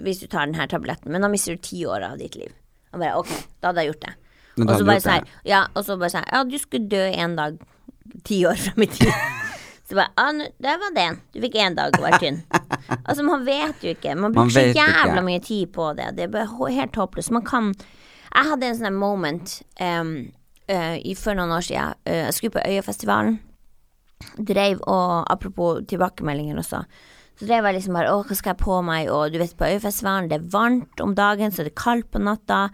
Hvis du tar denne tabletten. Men da mister du ti år av ditt liv. Og bare OK, da hadde jeg gjort det.
Men
Og
da
så
hadde
bare
du gjort
sånn
det.
Ja, og så bare sånn Ja, du skulle dø en dag ti år fram i
[LAUGHS]
tid. Så bare Ja, nå- der var den. Du fikk én dag å være
[LAUGHS]
tynn. Altså, man vet jo ikke. Man
Man
bruker så
vet ikke.
jævla mye tid på det. Det er bare hå- helt håpløst. Man kan Jeg hadde en sånn der moment em, eh, i, for noen år siden. Eh, jeg skulle på Øyafestivalen. Dreiv og Apropos tilbakemeldinger også. Så drev jeg liksom bare Å, hva skal jeg på meg? Og du vet, på Øyafestivalen, det er varmt om dagen, så det er kaldt på natta.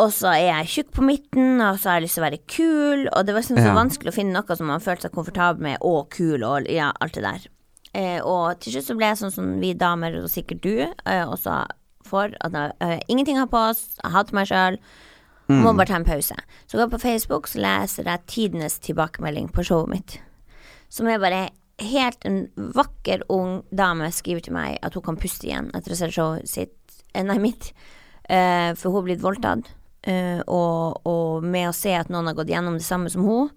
Og så er jeg tjukk på midten, og så har jeg lyst til å være kul. Og det var sånn så
Ja.
vanskelig å finne noe som man følte seg komfortabel med, og kul, og ja, alt det der. Eh, og til slutt så ble jeg sånn som vi damer, og sikkert du, eh, også for at jeg, eh, ingenting har på oss, jeg hater meg sjøl. Må bare ta en pause. Så går jeg på Facebook, så leser jeg tidenes tilbakemelding på showet mitt. Som er bare helt en vakker ung dame skriver til meg at hun kan puste igjen etter å ha sett showet sitt, eh, nei mitt. Eh, for hun har blitt voldtatt. Eh, og, og med å se at noen har gått gjennom det samme som hun,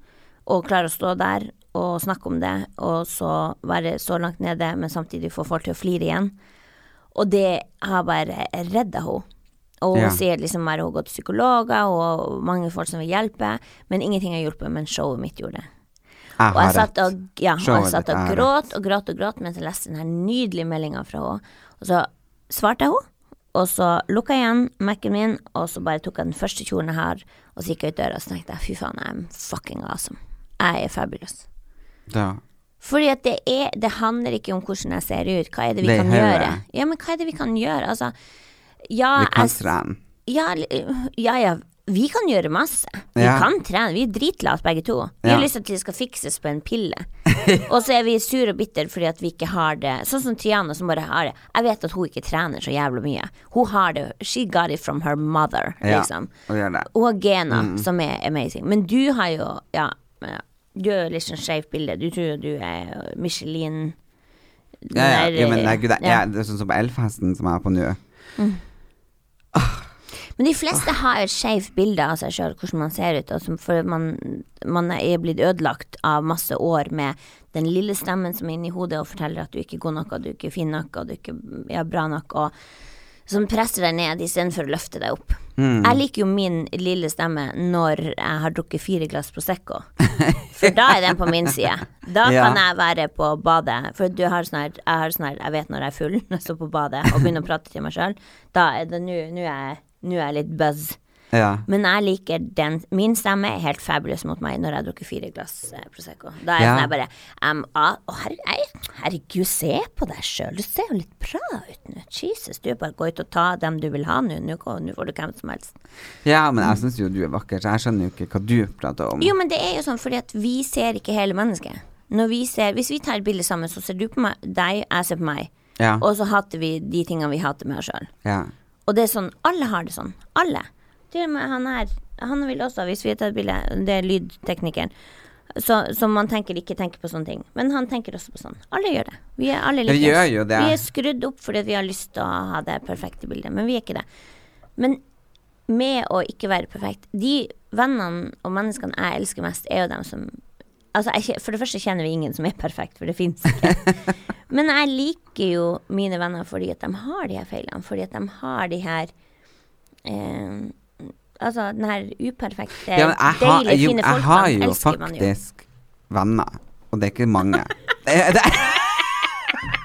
og klarer å stå der og snakke om det, og så være så langt nede, men samtidig få folk til å flire igjen. Og det har bare redda henne. Og hun
Ja.
sier liksom bare hun har gått til psykologer, og mange folk som vil hjelpe, men ingenting har hjulpet, men showet mitt gjorde det.
Jeg
Og
har
jeg
rett.
satt og, ja, og, jeg
Showet
satt
ditt
og
er
gråt og gråt og gråt mens jeg leste den her nydelige meldinga fra henne. Og så svarte jeg henne, og så lukka jeg igjen Mac-en min, og så bare tok jeg den første kjolen jeg har, og så gikk jeg ut døra og så tenkte jeg, fy faen, jeg er fucking awesome. Jeg er fabulous.
Ja.
Fordi at det er Det handler ikke om hvordan jeg ser ut. Hva er det vi
Det er
kan
hodet.
gjøre? Ja, men hva er det vi kan gjøre? Altså, ja,
Vi kan
Ah, jeg-
trene.
ja, l- ja, ja. Vi kan gjøre masse. Vi
Ja.
kan trene. Vi er dritlate begge to. Vi har
Ja.
lyst til at det skal fikses på en pille. [LAUGHS] og så er vi sur og bitter fordi at vi ikke har det Sånn som Triana som bare har det. Jeg vet at hun ikke trener så jævlig mye. Hun har det She got it from her mother,
Ja,
liksom.
hun gjør det. Mm.
Hun har gener som er amazing. Men du har jo Ja. ja. Du har jo litt sånn skeivt bilde. Du tror jo du er Michelin
Ja, ja.
den der,
ja, men nei, gud, det,
ja.
ja. det er sånn som på Elfesten som jeg er på nå.
Men de fleste har et skjevt bilde av seg sjøl, hvordan man ser ut. Altså, for man, man er blitt ødelagt av masse år med den lille stemmen som er inni hodet og forteller at du ikke er god nok, og du ikke er fin nok, og du ikke er bra nok. Og som presser deg ned istedenfor å løfte deg opp. Jeg liker jo min lille stemme når jeg har drukket fire glass Prosecco. For da er den på min side. Da
Ja.
kan jeg være på badet. For du har sånn her, jeg har sånn her Jeg vet når jeg er full, [LAUGHS] når jeg står på badet og begynner å prate til meg sjøl. Da er det nå nå er jeg- nå er jeg litt buzz.
Ja.
Men jeg liker den Min stemme er helt fabulous mot meg når jeg drukker fire glass eh, Prosecco. Da er jeg
Ja.
sånn her bare em, ah, å, herre- ei, Herregud, se på deg sjøl. Du ser jo litt bra ut nå. Jesus, du bare gå ut og ta dem du vil ha nå. Nå går- nå får du hvem som helst.
ja, men jeg syns jo du er vakker, så jeg skjønner jo ikke hva du prater om.
Jo, men det er jo sånn fordi at vi ser ikke hele mennesket. Når vi ser, hvis vi tar et bilde sammen, så ser du på meg, deg, jeg ser på meg.
Ja.
Og så hater vi de tingene vi hater med oss sjøl.
Ja.
Og det er sånn, alle har det sånn. Alle. Til og med han her. Han vil også, hvis vi tar et bilde, det er lydteknikeren. Så, som man tenker ikke tenker på sånne ting. Men han tenker også på sånn. Alle gjør det. Vi er
Vi
alle like.
gjør jo det.
Vi er skrudd opp fordi vi har lyst til å ha det perfekte bildet, men vi er ikke det. Men med å ikke være perfekt De vennene og menneskene jeg elsker mest, er jo dem som Altså, jeg, kje- for det første kjenner vi ingen som er perfekt, for det fins ikke.
[LAUGHS]
Men jeg liker jo mine venner fordi at de har de her feilene, fordi at de har de her eh, Altså den her uperfekte,
Ja, men jeg har,
Eh, deilige,
jo,
fine
jeg
folkene
har jo
elsker man jo.
faktisk venner, og det er ikke mange.
[LAUGHS]
Det er, det er,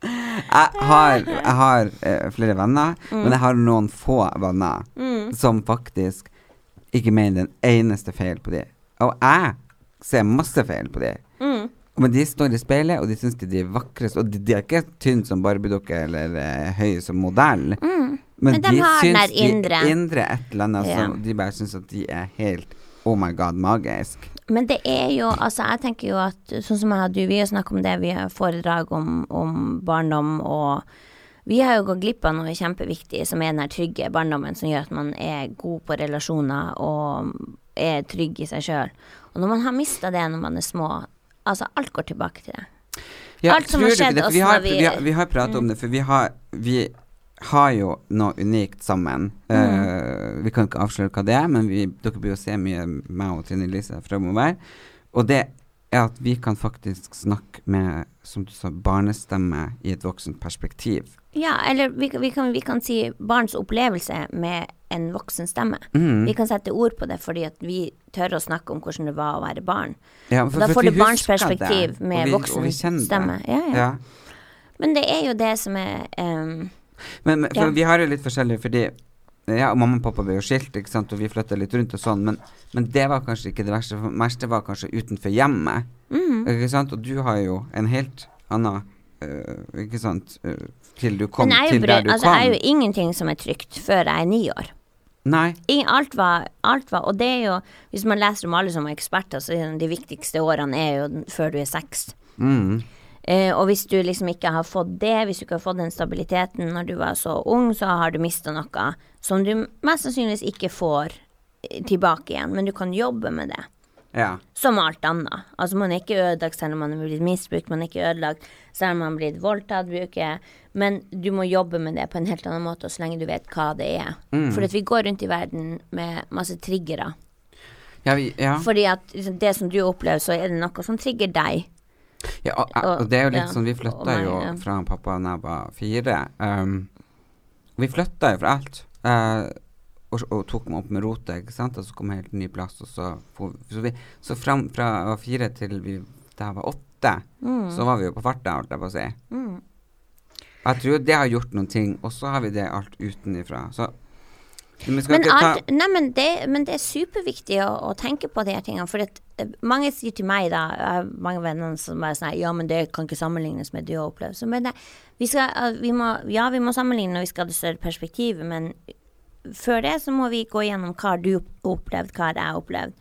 jeg har, jeg har eh, flere venner, men jeg har noen få venner
Mm.
som faktisk ikke mener den eneste feil på dem. Og jeg ser masse feil på dem.
Mm.
Men de står i speilet, og de syns de er vakrest. Og de, de er ikke tynne som barbiedukke eller eh, høye som modell.
Mm. Men de har den der indre.
de indre et eller annet
Ja.
som de bare syns at de er helt Oh my god, magisk.
Men det er jo, altså jeg tenker jo at sånn som jeg og du, vi har snakket om det, vi har foredrag om, om barndom og vi har jo gått glipp av noe kjempeviktig som er den her trygge barndommen som gjør at man er god på relasjoner og er trygg i seg sjøl. Og når man har mista det når man er små, altså alt går tilbake til det.
Ja,
Alt som
tror du
har
ikke
skjedd
det? For
oss
vi har,
når vi- Mm.
vi har, vi har pratet om det, for vi har, vi har jo noe unikt sammen.
Mm.
Eh, vi kan ikke avsløre hva det er, men vi, dere blir jo se mye meg og Trine Elise fremover. Og det er at vi kan faktisk snakke med, som du sa, barnestemme i et voksent perspektiv.
Ja, eller vi, kan- vi, kan, vi kan si barns opplevelse med en voksen stemme. Vi kan sette ord på det fordi at vi tør å snakke om hvordan det var å være barn.
Ja,
da får
vi
du barns
husker det,
perspektiv
og
med
vi- og vi
voksen
kjenner det.
stemme. Ja, ja.
ja.
Men det er jo det som er ehm,
Men, men for
Ja.
vi har jo litt forskjellig, fordi ja, og mamma og pappa ble jo skilt, ikke sant, og vi flytta litt rundt og sånn, men, men det var kanskje ikke det verste. For det verste var kanskje utenfor hjemmet.
Mhm.
Ikke sant? Og du har jo en helt annen øh, Ikke sant øh, Til du kom
Men jeg er,
til
jo
der
bry,
du
altså,
kom.
jeg er jo ingenting som er trygt før jeg er ni år.
Nei.
Ingen, alt, var, alt var Og det er jo, hvis man leser om alle som er eksperter, så er de viktigste årene er jo den- før du er seks.
Mm.
Eh, og hvis du liksom ikke har fått det, hvis du ikke har fått den stabiliteten når du var så ung, så har du mista noe som du mest sannsynligvis ikke får eh, tilbake igjen, men du kan jobbe med det.
Ja.
Som alt annet. Altså, man er ikke ødelagt selv om man er blitt misbrukt, man er ikke ødelagt selv om man er blitt voldtatt, bruker Men du må jobbe med det på en helt annen måte, og så lenge du vet hva det er. For at vi går rundt i verden med masse triggere.
Ja, vi, ja.
Fordi at liksom, det som du opplever, så er det noe som trigger deg.
ja og,
og-
og det er jo litt
ja,
sånn Vi
og
flytta
meg,
jo
ja.
fra pappa da jeg var fire. Um, vi flytta jo fra alt. eh, og, og tok meg opp med rotet, ikke sant. Og så kom jeg helt ny plass, og så for, Så, vi, så fram fra jeg var fire til vi, da jeg var åtte,
Mm.
så var vi jo på farta, holdt jeg på å si. Jeg tror det har gjort noen ting. Og så har vi det alt utenifra. Så vi skal
Men,
ikke ta
alt, nei, men, det, men det er superviktig å, å tenke på de her tingene. For at, eh, mange sier til meg, da, jeg har mange venner som er sånn her, Ja, men det kan ikke sammenlignes med det å oppleve. Så, men nei, vi skal, eh, vi må, ja, vi må sammenligne når vi skal ha det større perspektivet, men før det så må vi gå gjennom hva har du opplevd, hva har jeg opplevd.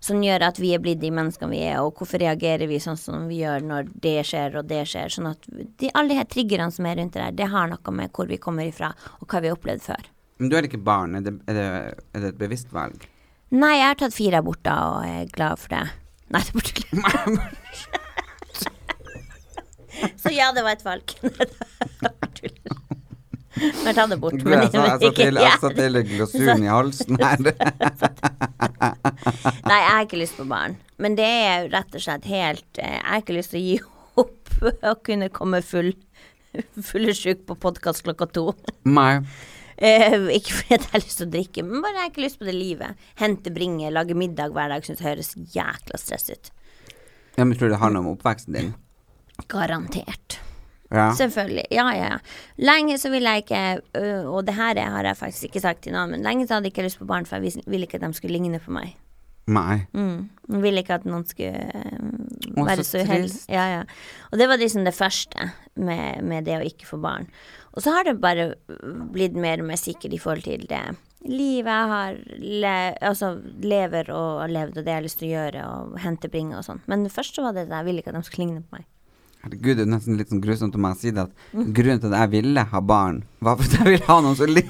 Som gjør at vi er blitt de menneskene vi er, og hvorfor reagerer vi sånn som vi gjør når det skjer og det skjer. Sånn at de, alle de her triggerne som er rundt det der, det har noe med hvor vi kommer ifra og hva vi har opplevd før.
Men du er ikke barn. Er det, er det, er det et bevisst valg?
Nei, jeg har tatt fire aborter og er glad for det. Nei, det er
[LAUGHS]
bare tull. [LAUGHS] Så ja, det var et valg. [LAUGHS] Nei, det var bare tull. Jeg har tatt det bort,
Gud,
men,
jeg sa jeg
men
sa
ikke
til, jeg sa
jeg.
til glasuren i halsen
[LAUGHS]
her.
Nei, jeg har ikke lyst på barn. Men det er jo rett og slett helt eh, Jeg har ikke lyst til å gi håpe [LAUGHS] å kunne komme full fullesjuk på podkast klokka to. [LAUGHS]
Nei.
Eh, ikke fordi at jeg har lyst til å drikke, men bare jeg har ikke lyst på det livet. Hente, bringe, lage middag hver dag syns høres jækla stress ut.
Ja, men tror du det handler om oppveksten din?
Garantert.
Ja.
Selvfølgelig. Ja, ja, ja. Lenge så ville jeg ikke ø, Og det her har jeg faktisk ikke sagt til noen, men lenge så hadde jeg ikke lyst på barn, for jeg vis- ville ikke at de skulle ligne på meg.
Nei.
Mm. Jeg ville ikke at noen skulle ø,
Å,
være
så
så uheldig.
trist.
Ja, ja. Og det var liksom det første med, med det å ikke få barn. Og så har det bare ø, blitt mer og mer sikkert i forhold til det livet jeg har le, Altså lever og har levd, og det jeg har lyst til å gjøre, og hente bringe og sånn. Men først så var det det, jeg ville ikke at de skulle ligne på meg.
Herregud, det er nesten litt sånn grusomt om jeg sier det, at grunnen til at jeg ville ha barn, var fordi jeg ville ha noen som lik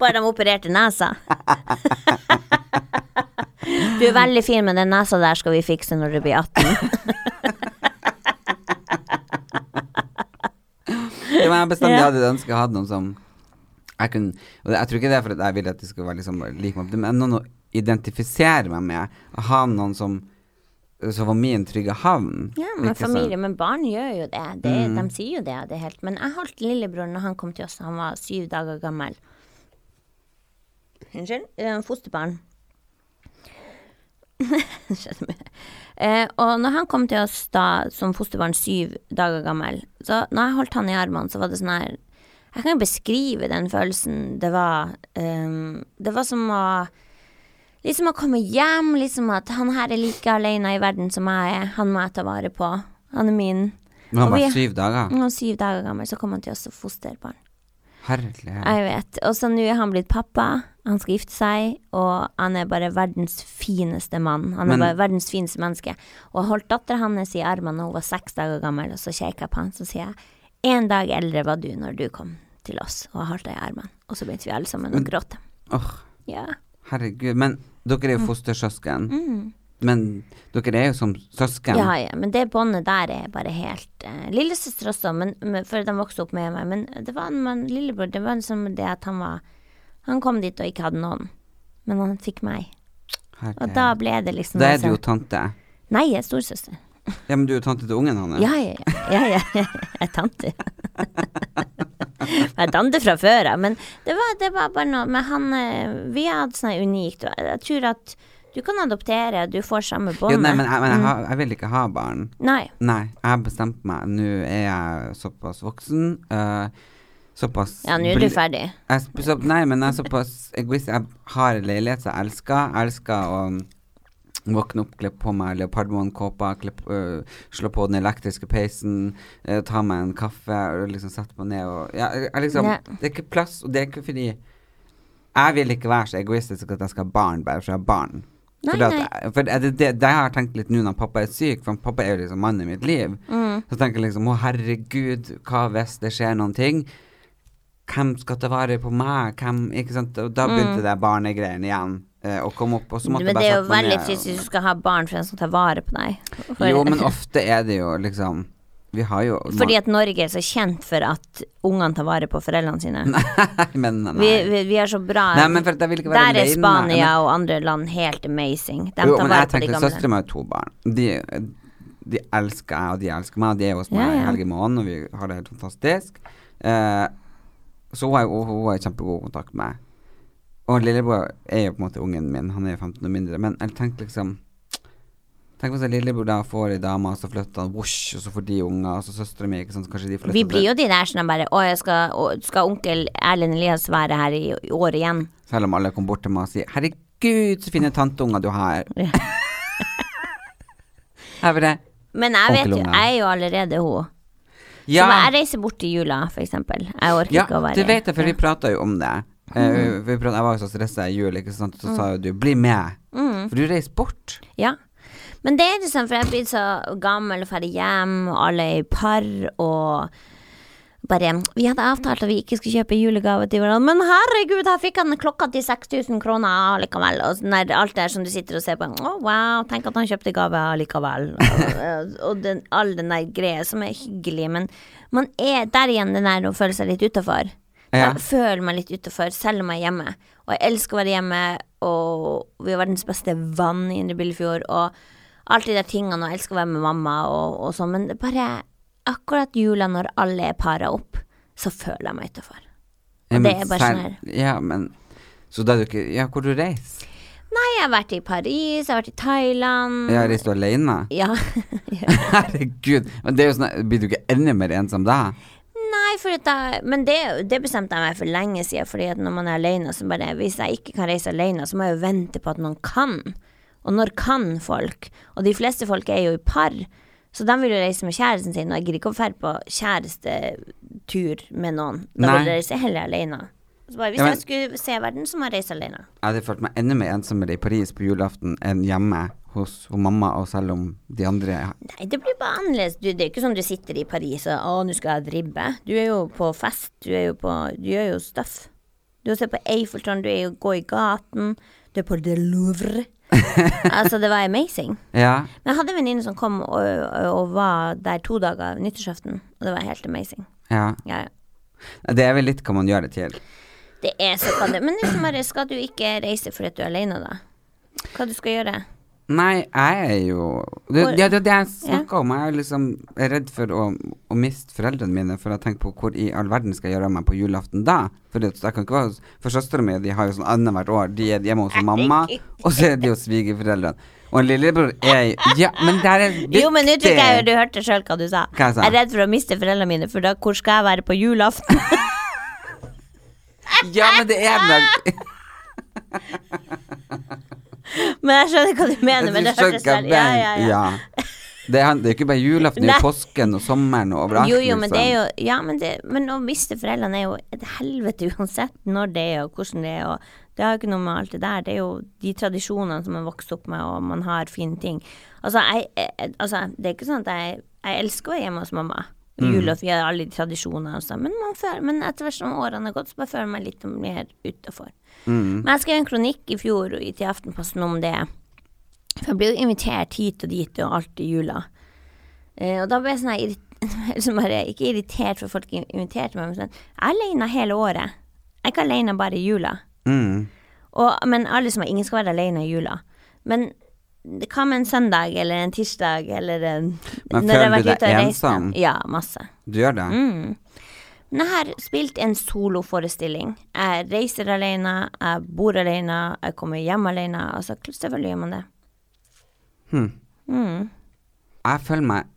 Bare de opererte nesa. Du er veldig fin, men den nesa der skal vi fikse når du blir 18.
Det var jeg bestandig
Ja.
hadde ønsket jeg hadde noen som jeg kunne Og jeg tror ikke det er fordi at jeg ville at de skulle være liksom lik meg, men noen å identifisere meg med. Ha noen som Som var min trygge havn.
Ja, men
Ikke sånn-
familie, men barn gjør jo det. det De sier jo det, det er helt Men jeg holdt lillebror når han kom til oss, han var syv dager gammel. Unnskyld? Eh, Fosterbarn. [LAUGHS] Skjedde mye. Eh, og når han kom til oss da som fosterbarn syv dager gammel, så når jeg holdt han i armene, så var det sånn her Jeg kan jo beskrive den følelsen det var. ehm, det var som å Liksom å komme hjem, liksom at han her er like alene i verden som jeg er. Han må jeg ta vare på. Han er min.
Når han
Og vi- Mm.
var syv dager.
Når han var syv dager gammel, så kom han til oss som fosterbarn.
Herlighet.
Jeg vet. Og så nå er han blitt pappa, han skal gifte seg, og han er bare verdens fineste mann. Han er
Men-
bare verdens fineste menneske. Og jeg holdt dattera hans i armene da hun var seks dager gammel, og så kjekka jeg på han, så sier jeg en dag eldre var du når du kom til oss, og jeg holdt deg i armene. Og så begynte vi alle sammen å gråte.
Åh,
Ja.
herregud. Men dere er
Mm.
jo fostersøsken. Men dere er jo som søsken.
Ja, ja, men det båndet der er bare helt uh, Lillesøster også, men, men, før de vokste opp med meg. Men det var en mann, lillebror Det var liksom det at han var Han kom dit og ikke hadde noen, men han fikk meg. Og
Herlighet.
da ble det liksom
Da er du jo
altså-
tante.
Nei, jeg er storesøster.
Ja, men du er jo tante til ungen hans.
Ja, ja, ja. ja, ja, [LAUGHS] ja. Jeg er tante. [LAUGHS] Jeg er tante fra før av, men det var, det var bare noe Men han eh, Vi har hatt sånn her unikt og Jeg tror at du kan adoptere, du får samme bånd.
Jo, nei, men, jeg, men jeg,
Mm.
har, jeg vil ikke ha barn.
Nei.
Nei, jeg har bestemt meg. Nå er jeg såpass voksen. eh, såpass
Ja, nå er du
bri-
ferdig.
Jeg, er sp- så, nei, men jeg er såpass egoist. Jeg har en leilighet som jeg elsker. Jeg elsker å um, våkne opp, kle på meg leopardmånekåpa, kle på- øh, slå på den elektriske peisen, eh, ta meg en kaffe og liksom sette meg ned og ja, jeg, jeg liksom,
Ja.
Det er ikke plass, og det er ikke fordi jeg vil ikke være så egoistisk at jeg skal ha barn bare for jeg har barn.
Nei,
Fordi at
nei.
jeg- for det, det, det, det har jeg tenkt litt nå når pappa er syk, for pappa er jo liksom mannen i mitt liv.
Mm.
Så tenker jeg liksom å herregud, hva hvis det skjer noen ting? Hvem skal ta vare på meg? Hvem, ikke sant? Og da begynte det barnegreiene igjen eh, å komme opp. Og så måtte
Mm.
jeg
Men
bare
det er jo
sette meg
veldig
ned.
trist hvis du skal ha barn for en som tar vare på deg. For, [LAUGHS]
Jo, men ofte er det jo liksom Vi har jo
fordi at Norge er så kjent for at ungene tar vare på foreldrene sine.
Men [LAUGHS] nei.
Vi, vi, vi er så bra
Nei, men for at jeg vil ikke være
Der er
alene,
Spania
men-
og andre land helt amazing. De
jo,
tar
men
vare
jeg
på de
tenker
gamle.
søstrene mine har to barn. De, de elsker jeg, og de elsker meg. og De er hos
Ja,
meg i
ja.
helg i måneden, og vi har det helt fantastisk. Eh, så hun har jo- hun har jeg kjempegod kontakt med. Og lillebror er jo på en måte ungen min, han er jo 15 år mindre, men jeg tenker liksom Tenk hvis jeg lillebror da får ei dame, og så flytter han, whoosh, og så får de unger, og så søstera mi, ikke sant, så kanskje de flytter
Vi blir jo de der som er bare Å, jeg skal, å, skal onkel Erlend Elias være her i, i år igjen?
Selv om alle kom bort til meg og sier 'herregud, så fine tanteunger du har'. [LAUGHS]
Ja.
Jeg bare
Men jeg vet jo,
Onkelunge.
jeg er jo allerede hun.
Ja.
Så når jeg reiser bort i jula, for eksempel. Jeg orker
Ja,
ikke å være
det vet jeg, for
Ja. Mm.
vi prata jo om det. Eh, vi pratet, jeg var jo så stressa i jul, ikke sant, så sa jo du 'bli med',
Mm.
for du reiser bort.
Ja. Men det er liksom, for jeg blir så gammel og ferdig hjem, og alle er i par, og bare Vi hadde avtalt at vi ikke skulle kjøpe julegave til hverandre, men herregud, her fikk han klokka til 6000 kroner likevel. Og sånn der, alt det her som du sitter og ser på. Å, wow, tenk at han kjøpte gave likevel. og og den, all den der greia som er hyggelig, men man er der igjen den der å føle seg litt utafor.
Ja.
Jeg føler meg litt utenfor, selv om jeg er hjemme. Og jeg elsker å være hjemme, og vi har verdens beste vann i Indre Billefjord. Og alt de der tingene, og jeg elsker å være med mamma og, og sånn, men det er bare akkurat jula når alle er para opp, så føler jeg meg utafor.
Ja, men
Og det er bare sånn
sær-
her.
Ja, men Så da er du ikke Ja, hvor du reiser?
Nei, jeg har vært i Paris, jeg har vært i Thailand.
Ja, reiser du alene? [LAUGHS]
Ja. [LAUGHS]
Herregud. Men det er jo sånn Blir du ikke enda mer ensom da?
Nei, for at da, men det, det bestemte jeg meg for lenge siden. Fordi at når man er alene, så bare Hvis jeg ikke kan reise alene, så må jeg jo vente på at noen kan. Og når kan folk? Og de fleste folk er jo i par, så de vil jo reise med kjæresten sin. Og jeg gidder ikke å dra på kjærestetur med noen. Da
Nei.
vil jeg reise heller alene. Så bare, hvis
Ja, men-
jeg skulle se verden, så må jeg reise alene.
Jeg hadde følt meg enda mer ensommere i Paris på julaften enn hjemme hos hun mamma, og selv om de andre
Nei, det blir bare annerledes. Du, det er ikke sånn du sitter i Paris og 'Å, nå skal jeg ha ribbe'. Du er jo på fest. Du er jo på Du gjør jo stuff. Du ser på Eiffeltårn, du er jo gå i gaten. Du er på The
[LAUGHS]
Louvre. altså, det var amazing.
Ja.
Men jeg hadde en venninne som kom og, og var der to dager nyttårsaften, og det var helt amazing.
ja.
Ja, ja.
Det er vel litt hva man gjør det til.
Det er så kaldt. Men liksom bare, skal du ikke reise fordi at du er alene, da? Hva du skal gjøre?
Nei, jeg er jo Det
Hvor-
det er det, jeg snakker om. Jeg er liksom redd for å, å miste foreldrene mine, for jeg tenker på hvor i all verden skal jeg gjøre av meg på julaften da? For, det, jeg kan ikke være, hos- for søstera mi de har jo sånn annethvert år. De er hjemme hos
[LAUGHS]
mamma, og så er de hos svigerforeldrene. Og en lillebror er jo Ja, men det her er viktig!
Jo, men nå tror jeg jo du hørte sjøl hva du sa.
Hva jeg sa?
er redd for å miste foreldrene mine, for da hvor skal jeg være på julaften?
Ja, men det er
[LAUGHS]
da
men jeg skjønner hva du mener.
[LAUGHS]
Men det hørtes
Skjønner
veldig ja, ja, ja.
ja. Det er, det er jo ikke bare julaften, det er
[LAUGHS] Nei.
jo påsken og sommeren og overalt.
Jo, jo, men det er
liksom.
jo Ja, men, det, men å miste foreldrene er jo et helvete uansett når det er, og hvordan det er, og det har jo ikke noe med alt det der. Det er jo de tradisjonene som man vokser opp med, og man har fine ting. Altså, jeg, jeg altså, det er ikke sånn at jeg Jeg elsker å være hjemme hos mamma. Jul
Mm.
og fie, alle de tradisjonene og sånn, men, man føler, men etter hvert som årene har gått, så bare føler jeg meg litt mer utafor.
Mm.
Men jeg skrev en kronikk i fjor i- til Aftenposten om det. For jeg blir jo invitert hit og dit og alt i jula. Eh, og da ble jeg sånn her irrit- [LAUGHS] liksom bare, Ikke irritert for folk inviterte meg, men sånn Jeg er alene hele året. Jeg er ikke alene bare i jula.
Mm,
Og, men alle som er ingen skal være alene i jula. Men det- hva med en søndag eller en tirsdag eller en
Men
når jeg
føler
har
du
vært ute
deg
og reist,
ensom?
Ja, masse.
Du gjør
Mm.
det?
Men jeg har spilt en soloforestilling. Jeg reiser alene, jeg bor alene, jeg kommer hjem alene. Altså, selvfølgelig gjør man det.
Jeg føler meg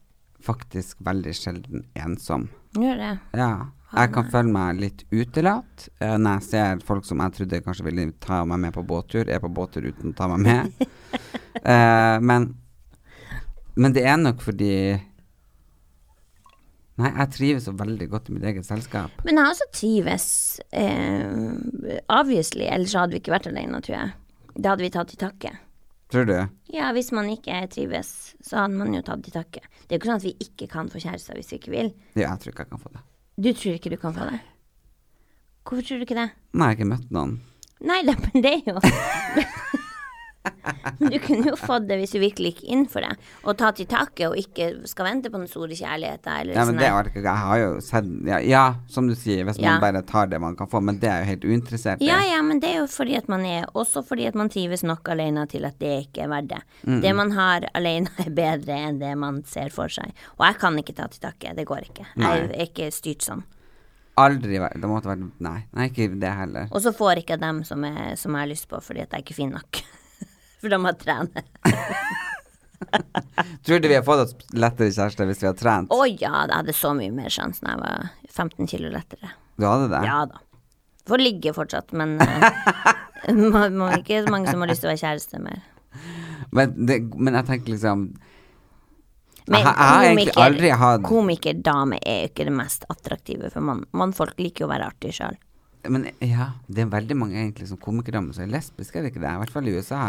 faktisk veldig sjelden ensom.
Gjør det.
Ja. Jeg kan føle meg litt utelatt eh, når jeg ser folk som jeg trodde kanskje ville ta meg med på båttur, er på båttur uten å ta meg med. Eh, men, men det er nok fordi Nei, jeg trives så veldig godt i mitt eget selskap.
Men jeg har også trives. Eh, obviously, ellers så hadde vi ikke vært alene, tror jeg. Da hadde vi tatt til takke.
Tror du?
Ja, hvis man ikke trives, så hadde man jo tatt til takke. Det er jo ikke sånn at vi ikke kan få kjærester hvis vi ikke vil.
Ja, jeg tror ikke jeg kan få det.
Du tror ikke du kan få det? Hvorfor tror du ikke det?
Nei, jeg har ikke møtt noen.
Nei da, men det er jo [LAUGHS] Men du kunne jo fått det hvis du virkelig gikk inn for det. Og tatt til takke og ikke skal vente på den store kjærligheten. Eller
Ja, men
sånn
det
der.
orker jeg ikke. Jeg har jo sett ja, ja, som du sier, hvis
Ja.
man bare tar det man kan få, men det er jeg jo helt uinteressert i.
Ja, ja, men det er jo fordi at man er Også fordi at man trives nok alene til at det ikke er verdt det. Det man har alene er bedre enn det man ser for seg. Og jeg kan ikke ta til takke, det går ikke. Jeg er ikke styrt sånn.
Aldri vært Det måtte vært Nei, nei ikke det heller.
Og så får ikke jeg dem som jeg, som jeg har lyst på, fordi at jeg er ikke fin nok. [LAUGHS] For de har trene.
Tror du vi har fått oss lettere kjæreste hvis vi har trent?
Å ja, jeg hadde så mye mer sjanse da jeg var 15 kilo lettere.
Du hadde det?
Ja da. Får ligge fortsatt, men [LAUGHS] eh, må, må ikke så mange som har lyst til å være kjæreste mer.
Men, det, men jeg tenker liksom
Men
Jeg har- jeg har egentlig
komiker-
aldri hatt-
Komikerdame er jo ikke det mest attraktive for mann. Mannfolk liker jo å være artig sjøl.
men ja, det er veldig mange egentlig som komikere men som er lesbiske, er det ikke det? I hvert fall i USA.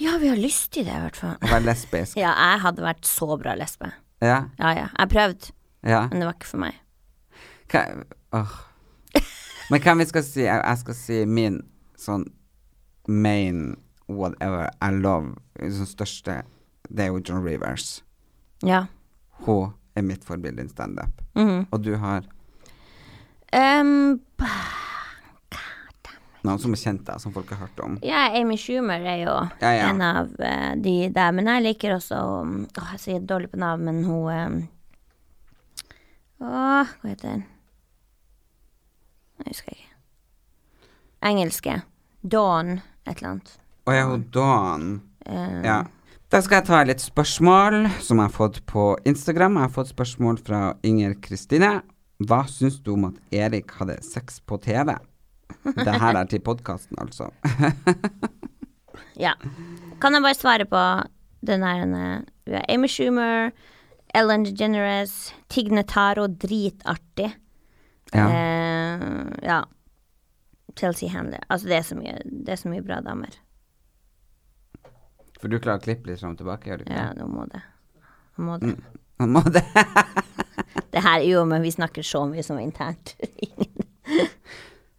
Ja, vi har lyst til det, i hvert
Å
fall.
være lesbisk.
[LAUGHS] Ja, jeg hadde vært så bra lesbe.
Ja.
Ja, ja. Jeg prøvde,
ja.
men det var ikke for meg.
Hva, åh. Men hvem vi skal si? Jeg, jeg skal si min sånn main whatever I love, sånn største, det er jo John Rivers.
Ja.
Hun er mitt forbilde i standup. Og du har
Um,
Noen som er kjent deg, som folk har hørt om.
Ja, Amy Schumer er jo
Ja, ja.
en av eh, de der. Men jeg liker også um, Åh, jeg sier dårlig på navn, men hun um, Åh, hva heter den? Jeg husker ikke. Engelske. Dawn, et eller annet.
Å ja, hun Dawn.
Eh,
Ja. Da skal jeg ta litt spørsmål som jeg har fått på Instagram. Jeg har fått spørsmål fra Inger Kristine. Hva syns du om at Erik hadde sex på TV? Det her er til podkasten, altså.
ja. Kan jeg bare svare på den her eh, ja, Amy Schumer, Ellen DeGeneres, Tignataro, dritartig.
Ja.
Eh, ja. Chelsea Handler. Altså, det er så mye, det er så mye bra damer.
For du klarer å klippe litt fram og tilbake, gjør du ikke?
Ja, nå må det. Nå må det.
Ja. Må det?
Det her, jo, men vi snakker så mye som internt.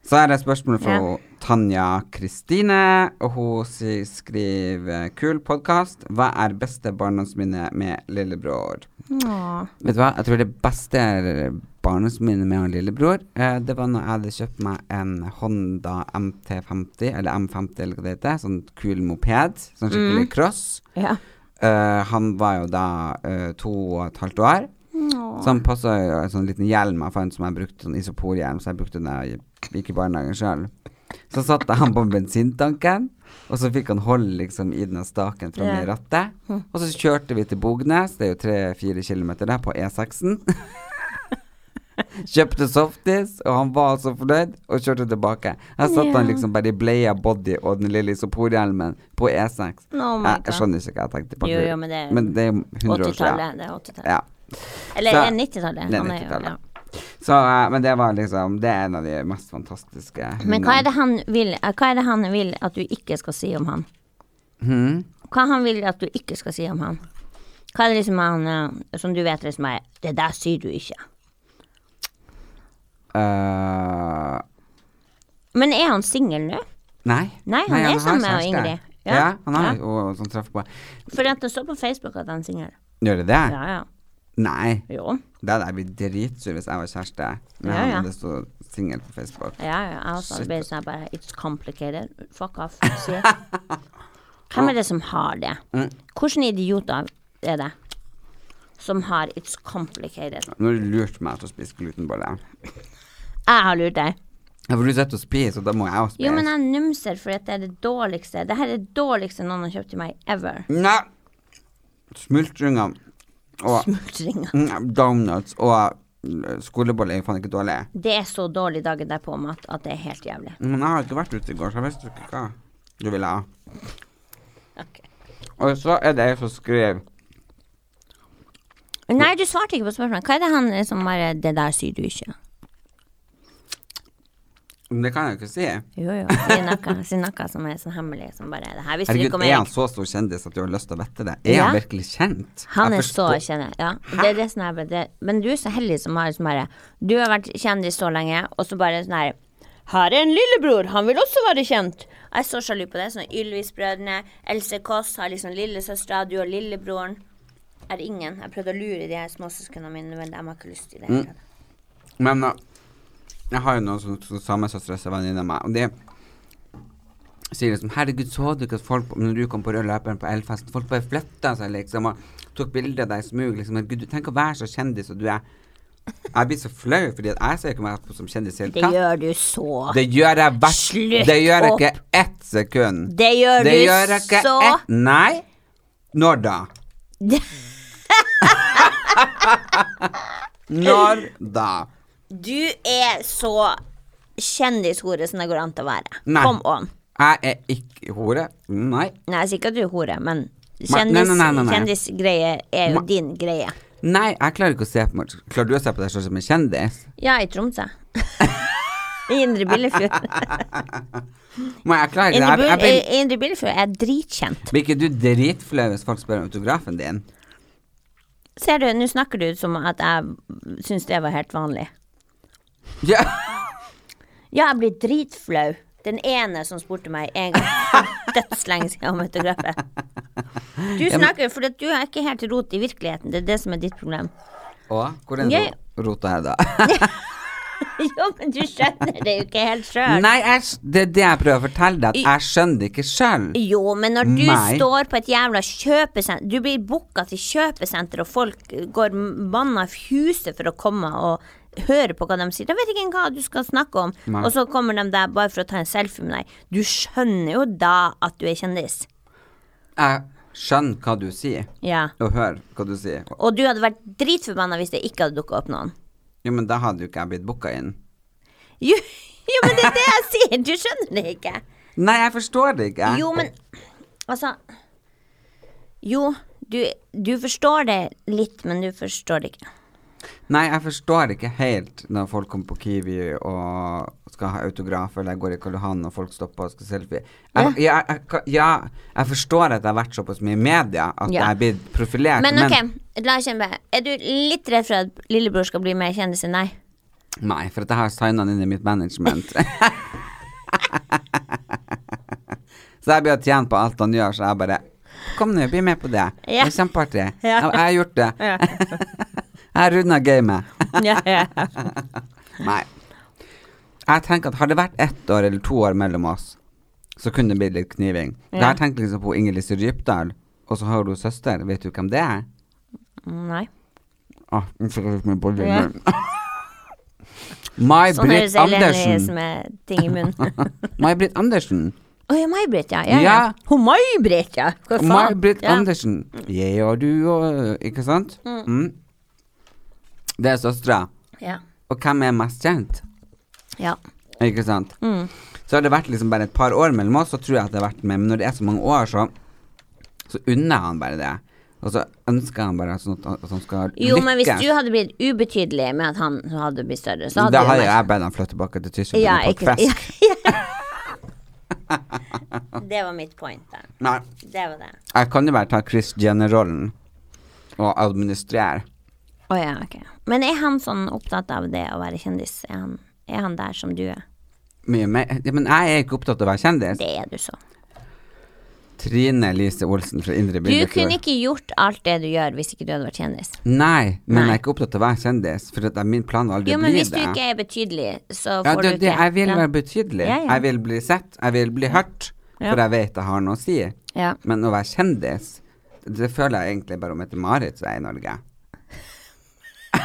Så er det spørsmål fra
Ja.
Tanja Kristine, og hun si- skriver 'Kul podkast. Hva er beste barndomsminne med lillebror?'
Åh.
Vet du hva, jeg tror det beste barndomsminnet med han lillebror, eh, det var når jeg hadde kjøpt meg en Honda MT50, eller M50 eller hva det heter, sånn kul moped, sånn skikkelig cross.
Ja.
Eh, han var jo da eh, to og et halvt år. Så han passa jo en sånn liten hjelm jeg fant som jeg brukte, sånn isoporhjelm, så jeg brukte den da jeg gikk i barnehagen sjøl. Så satte jeg han på bensintanken, og så fikk han hold liksom i den staken framme i
Ja.
rattet. Og så kjørte vi til Bognes, det er jo tre-fire kilometer der, på E6-en. Kjøpte softis, og han var så fornøyd, og kjørte tilbake. Her satt han liksom bare i bleia body og den lille isoporhjelmen på E6.
Oh my
jeg,
God.
jeg skjønner ikke hva jeg tenkte på.
Jo, jo, men det er
men det er jo 100 år
åttitallet.
siden.
Det er 80-tallet.
Ja.
Eller
Så-
er det 90-tallet.
Det er
Han er jo-
90-tallet.
ja.
Så, eh, men det var liksom Det er en av de mest fantastiske
Men hva er, det han vil, eh, hva er det han vil at du ikke skal si om han? Hva han vil at du ikke skal si om han? Hva er det liksom han eh, som du vet liksom er Det der sier du ikke.
Eh,
Men er han singel nå?
nei.
Nei, han er
har
sammen med
kjæreste.
Ingrid.
Ja,
Ja.
han har
Ja.
jo sånn treff på
For at det står på Facebook at han er singel.
Gjør det det?
Ja, ja.
Nei.
Jo.
Da hadde jeg blitt dritsur hvis jeg var kjæreste med
Ja,
han
ja.
og det stod singel på Facebook.
Ja, ja. Jeg også
Shit.
ble sånn bare It's complicated. Fuck off. sier jeg. Hvem er det som har det? Hvilke idioter er det som har It's complicated?
Nå har du lurt meg til å spise glutenbolle.
Jeg har lurt deg.
Ja, for du sitter og spiser, og da må jeg også spise.
Jo, men jeg numser fordi at det er det dårligste. Det her er det dårligste noen har kjøpt til meg ever.
Nei! Smultringer og
Smultringer.
mm, donuts og mm, skoleboller er jo faen ikke dårlig.
Det er så dårlig dagen derpå-mat at det er helt jævlig.
Men jeg har ikke vært ute i går, så jeg visste ikke hva du ville ha.
Ok.
Og så er det jeg som skriver
Nei, du svarte ikke på spørsmålet. Hva er det han er som bare Det der sier du ikke.
Men det kan jeg jo ikke si.
Jo, jo. Si noe, si noe som er sånn hemmelig, som bare Det her visste du
Herregud,
ikke om
er han
Erik.
så stor kjendis at du har lyst til å vette det? Er
Ja.
han virkelig kjent?
Han
Jeg
er så
forstår-
kjent. Ja. Det er det som er det. Men du er så heldig som har som bare Du har vært kjendis så lenge, og så bare sånn her Her er en lillebror, han vil også være kjent. Jeg er så sjalu på det. Sånn Ylvis-brødrene, Else Kåss har liksom lillesøstera, du og lillebroren. Er ingen. Jeg prøvde å lure de her småsøsknene mine, men de har ikke lyst
Mm.
til det. hele tatt.
Men uh, jeg har jo noen sånne som sammensøstre som er venninne av meg, og de sier liksom 'Herregud, så du ikke at folk på- når du kom på rød løperen på Elfesten, folk bare flytta seg, liksom, og tok bilder av deg i smug, liksom. Herregud, du- tenk å være så kjendis, og du er Jeg blir så flau, fordi at jeg ser ikke meg på som kjendis i det
Det
hele tatt.
gjør du så.
Det gjør jeg hvert
Slutt
Det gjør jeg
opp.
ikke ett sekund.
Det
Det
gjør du
gjør jeg ikke
så
ett Nei. Når da? [LAUGHS] Når da?
Du er så kjendishore som det går an til å være.
Nei.
Kom on.
Jeg er ikke hore. Nei.
Nei, jeg sier ikke at du er hore, men
nei,
kjendis,
nei, nei, nei, nei.
kjendisgreie er jo
Ma-
din greie.
Nei, jeg klarer ikke å se på meg Klarer du å se på deg selv som en kjendis?
Ja,
[LAUGHS]
i Tromsø. I Indre Billefjord.
Men jeg klarer ikke
Indre,
det. Jeg,
Bil-
jeg,
i- Indre Billefjord er dritkjent.
blir, blir ikke du dritflau hvis folk spør om autografen din? [LAUGHS]
Ser du, nå snakker du som at jeg syns det var helt vanlig.
Ja.
Ja, jeg blir dritflau. Den ene som spurte meg en gang
[LAUGHS]
for dødslenge siden om autografet. Du snakker for at du er ikke helt rot i virkeligheten. Det er det som er ditt problem.
Og hvor er
Jeg-
ro- rota jeg da?
[LAUGHS] jo, men du skjønner det jo ikke helt sjøl.
[LAUGHS] Nei, jeg, s- det er det jeg prøver å fortelle deg, at jeg skjønner det ikke sjøl.
Jo, men når du
Nei.
står på et jævla kjøpesenter Du blir booka til kjøpesenter, og folk går manna i huset for å komme og høre på hva de sier. De vet ikke engang hva du skal snakke om.
Nei.
Og så kommer de der bare for å ta en selfie med deg. Du skjønner jo da at du er kjendis.
Jeg skjønner hva du sier,
Ja.
og hører hva du sier.
Og du hadde vært dritforbanna hvis det ikke hadde dukka opp noen. [LAUGHS]
Jo, men da hadde jo ikke jeg blitt booka inn.
Jo, jo, men det er det jeg sier! Du skjønner det ikke.
Nei, jeg forstår det ikke.
Jo, men altså Jo, du, du forstår det litt, men du forstår det ikke.
Nei, jeg forstår ikke helt når folk kommer på Kiwi og skal ha autograf, eller jeg går i Karl Johan og folk stopper og skal selfie. Jeg, ja. Jeg, jeg, ja, jeg forstår at jeg har vært såpass mye i media at jeg
Ja.
er blitt profilert,
Men ok, la oss kjempe. Er du litt redd for at lillebror skal bli mer kjendis enn deg?
Nei, for at jeg har signa inn i mitt
[LAUGHS]
management. så jeg blir å tjene på alt han gjør, så jeg bare Kom nå, bli med på det. Det
Ja.
er kjempeartig.
Ja.
Jeg, jeg har gjort det.
Ja.
jeg har runda gamet.
[LAUGHS]
[LAUGHS]
Ja, ja.
Nei. Jeg tenker at Har det vært ett år eller to år mellom oss, så kunne det blitt litt kniving. Da har jeg tenkt liksom på Inger-Lise Rypdal, og så har hun søster. Vet du hvem det er?
Nei.
Ah, nå fikk jeg litt mer bolle i munnen. [LAUGHS] May-Britt
Sånn høres Eleni
Andersen.
som er ting i munnen.
[LAUGHS] May-Britt Andersen.
Å ja, May-Britt, ja. ja, ja.
Ja.
Hun May-Britt, ja. Hva faen?
May-Britt
Ja.
Andersen. Jeg og du og Ikke sant? Mm. Det er søstera.
Ja.
Og hvem er mest kjent?
ja.
Ikke sant?
Mm.
Så har det vært liksom bare et par år mellom oss, så tror jeg at det har vært med. Men når det er så mange år, så, så unner han bare det. Og så ønsker han bare sånn at han, at han skal
Jo, men hvis
lykkes.
du hadde blitt ubetydelig med at han hadde blitt større, så hadde
Da
du
hadde
vært-
jeg bedt han flytte tilbake til Tyskland
ja,
og
ikke,
pakke
[LAUGHS] ja,
fisk.
ja. Det var mitt point, da.
Nei,
Det var det.
jeg kan jo bare ta Chris Jenner-rollen og administrere.
Å ja, ok. Men er han sånn opptatt av det å være kjendis? Er han, er han der som du er?
Mye mer. Ja, men jeg er ikke opptatt av å være kjendis.
Det er du så.
Trine Lise Olsen fra Indre
Du
Bygdefjord.
kunne ikke gjort alt det du gjør hvis ikke du hadde vært kjendis.
Nei, men
Nei.
jeg er ikke opptatt av å være kjendis, for at min plan var aldri å
Jo, men
bli
hvis du
det.
ikke er betydelig, så
Ja, det,
får du
det,
ikke
jeg vil
ja.
være betydelig.
Ja, ja.
Jeg vil bli sett, jeg vil bli hørt,
Ja.
for jeg vet jeg har noe å si.
Ja.
Men å være kjendis, det føler jeg egentlig bare om Mette-Marit som er i Norge. [LAUGHS]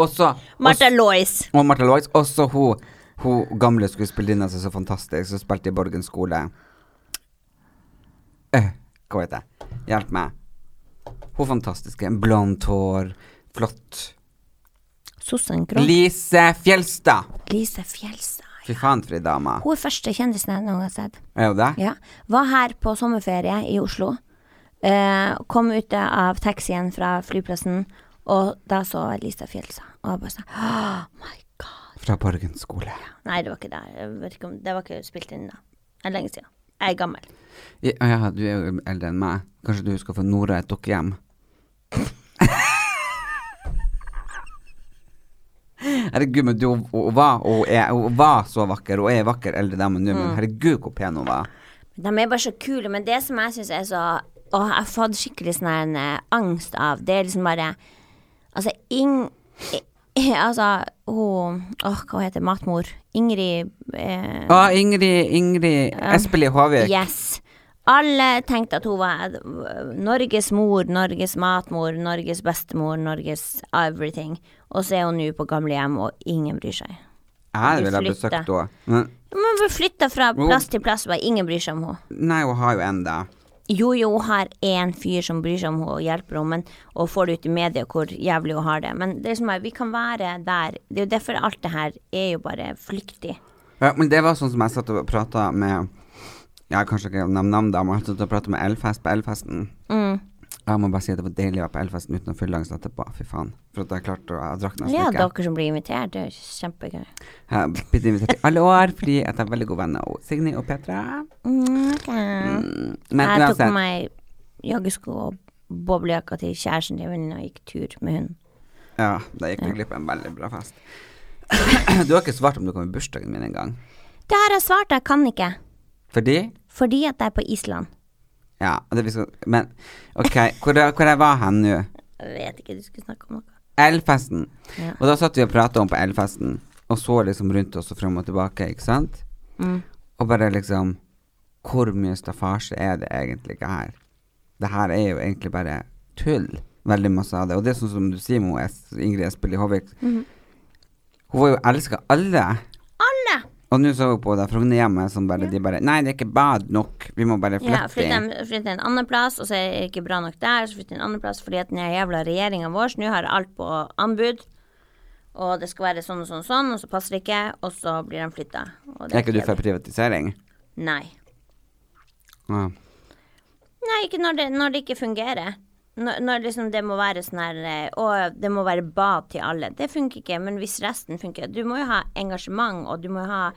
også,
Martha Lois.
og Martha Lois, også hun, hun gamle skuespillerinna som er så fantastisk, som spilte i Borgen skole. Øh, hva heter det? Hjelp meg. Hun fantastiske. Blondt hår, flott.
Susan Krogh.
Lise Fjelstad.
Lise Fjelstad.
Fy faen, for ei dame.
Hun er første kjendisen jeg noen gang har sett.
Er hun det?
Ja. Var her på sommerferie i Oslo. Eh, kom ut av taxien fra flyplassen, og da så jeg Lisa Fjelsa. Og jeg bare sånn Oh my god.
Fra Borgen skole.
Nei, det var ikke det. Jeg vet ikke om, det var ikke spilt inn da. Det er lenge siden. Jeg er gammel.
Ja, ja, du er jo eldre enn meg. Kanskje du skal få Nora et dukkehjem? herregud, men du, hun, hun, var, hun, er, hun var så vakker. Hun er vakker eldre dame nå, men herregud hvor pen hun var.
De er bare så kule, men det som jeg syns er så Åh, jeg har fått skikkelig sånn her en eh, angst av Det er liksom bare Altså, Ing... i- i- Altså, hun Åh, hva heter matmor? Ingrid eh,
Å, Ingrid, Ingrid Espelid Håvik.
Yes. Alle tenkte at hun var eh, Norges mor, Norges matmor, Norges bestemor, Norges everything. Og så er hun nå på gamlehjem, og ingen bryr seg.
Jeg
Du
ville ha
flytter.
besøkt henne. Men-
Men hun flytta fra plass til plass, og bare ingen bryr seg om henne.
Nei, hun har jo en, da.
Jo, jo, hun har én fyr som bryr seg om henne og hjelper henne, men- og får det ut i media hvor jævlig hun har det. Men det er som at vi kan være der. Det er jo derfor alt det her er jo bare flyktig.
Ja, men det var sånn som jeg satt og prata med Ja, kanskje ikke nevne navn, da, men jeg satt og prata med Elfest på Elfesten.
Mm.
Jeg må bare si at det var deilig å være på Elfesten uten å fylle angst etterpå. Fy faen. For at jeg klarte å Jeg drakk nesten
Ja,
ikke.
dere som blir invitert, det er jo kjempegøy.
Jeg har blitt invitert i alle år fordi at jeg er veldig god venn av Signe og Petra.
Mm, ok.
Men
Jeg tok på
uansett,
meg joggesko og boblejakka til kjæresten til venninna og gikk tur med hunden.
ja, da gikk du glipp av en veldig bra fest. [COUGHS] Du har ikke svart om du kom i bursdagen min engang.
Det har jeg svart, jeg kan ikke.
Fordi
Fordi at jeg er på Island.
Ja, det vi skal Men OK, hvor, hvor jeg var hen nå?
Jeg vet ikke, du skulle snakke om noe.
Elfesten.
Ja.
Og da satt vi og prata om på Elfesten og så liksom rundt oss og frem og tilbake, ikke sant?
Mm.
Og bare liksom Hvor mye staffasje er det egentlig ikke her? Det her er jo egentlig bare tull, veldig masse av det. Og det er sånn som du sier med hun S- Ingrid Espelid Håvik.
Mm-hmm.
Hun var jo elska alle.
Alle!
Og nå så jeg på det Frognerhjemmet som bare De bare Nei, det er ikke bad nok. Vi må bare
Ja,
flytte
flytte
inn.
en, flytte en annen plass, og så er det ikke bra nok der, så flytte en annen plass, fordi at den jævla regjeringa vår, nå har alt på anbud, og det skal være sånn og sånn og sånn, og så passer det ikke, og så blir de flytta.
Er ikke du for privatisering?
Nei.
Ja.
Nei, ikke når det, når det ikke fungerer. Når, når liksom det må være sånn her eh, Å, det må være bad til alle. Det funker ikke, men hvis resten funker Du må jo ha engasjement, og du må ha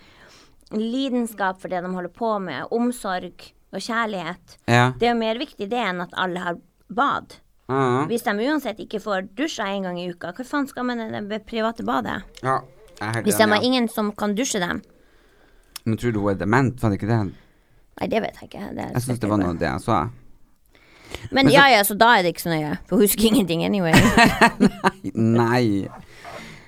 lidenskap for det de holder på med. Omsorg og kjærlighet.
ja.
Det er jo mer viktig det enn at alle har bad.
Ja.
Hvis de uansett ikke får dusja en gang i uka, hva faen skal man med det private badet?
ja. Jeg er helt
Hvis de
enig,
har
ja.
ingen som kan dusje dem?
Men tror du hun er dement? Var det ikke det?
Nei, det vet jeg ikke. Det er
Jeg syns det var noe av det altså. jeg så.
Men ja ja, så da er det ikke så nøye. For hun husker [LAUGHS] ingenting anyway.
Nei.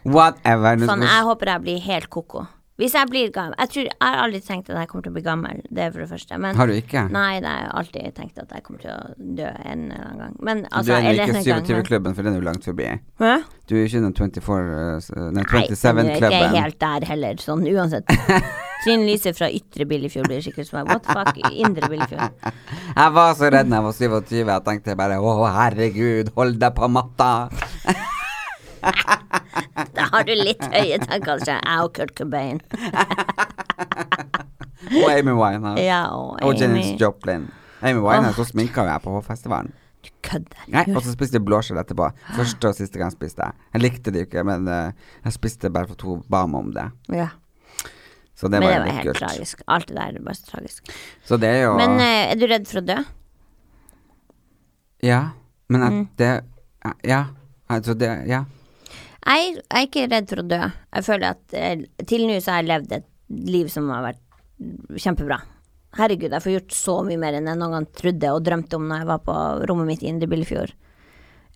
Whatever. Nå
Faen,
skal-
jeg håper jeg blir helt koko. Hvis jeg blir gammel Jeg, tror, jeg har aldri tenkt at jeg kommer til å bli gammel, det er for det første. Men,
Har du ikke?
Nei, det har jeg alltid tenkt at jeg kommer til å dø en eller annen gang. Men
du
altså,
er
eller
jo
en
ikke
gang, men-
27-klubben, for den er jo langt forbi.
Hæ?
Du er jo ikke den 24 s- Nei,
Nei, men jeg er ikke
27-klubben.
helt der heller, sånn uansett.
[LAUGHS]
Trine Lise fra Ytre Billefjord blir sikkert som meg. What the fuck, Indre Billefjord?
Jeg var så redd da jeg var 27, jeg tenkte bare å herregud, hold deg på matta.
Da [LAUGHS] har du litt høye tanker, kanskje. Jeg og Kurt Cobain.
Og Amy Winehouse.
Ja, og
Og Janis
Amy.
Joplin. Amy Winehouse, så sminka jo jeg på festivalen.
Du kødder.
Nei, altså, og så spiste jeg blåskjell etterpå. Første og siste gang spiste jeg. Jeg likte det jo ikke, men eh, jeg spiste bare for at hun ba meg om det.
Ja.
Så det
Men
var
det
jo
var
litt
helt
kult.
tragisk. Alt det der er bare så tragisk.
Så det er jo
Men eh, er du redd for å dø?
Ja, men at
Mm.
det eh, Ja, altså det Ja.
Jeg, jeg er ikke redd for å dø. Jeg føler at eh, til nå så har jeg levd et liv som har vært kjempebra. Herregud, jeg får gjort så mye mer enn jeg noen gang trodde og drømte om når jeg var på rommet mitt i Indre Billefjord.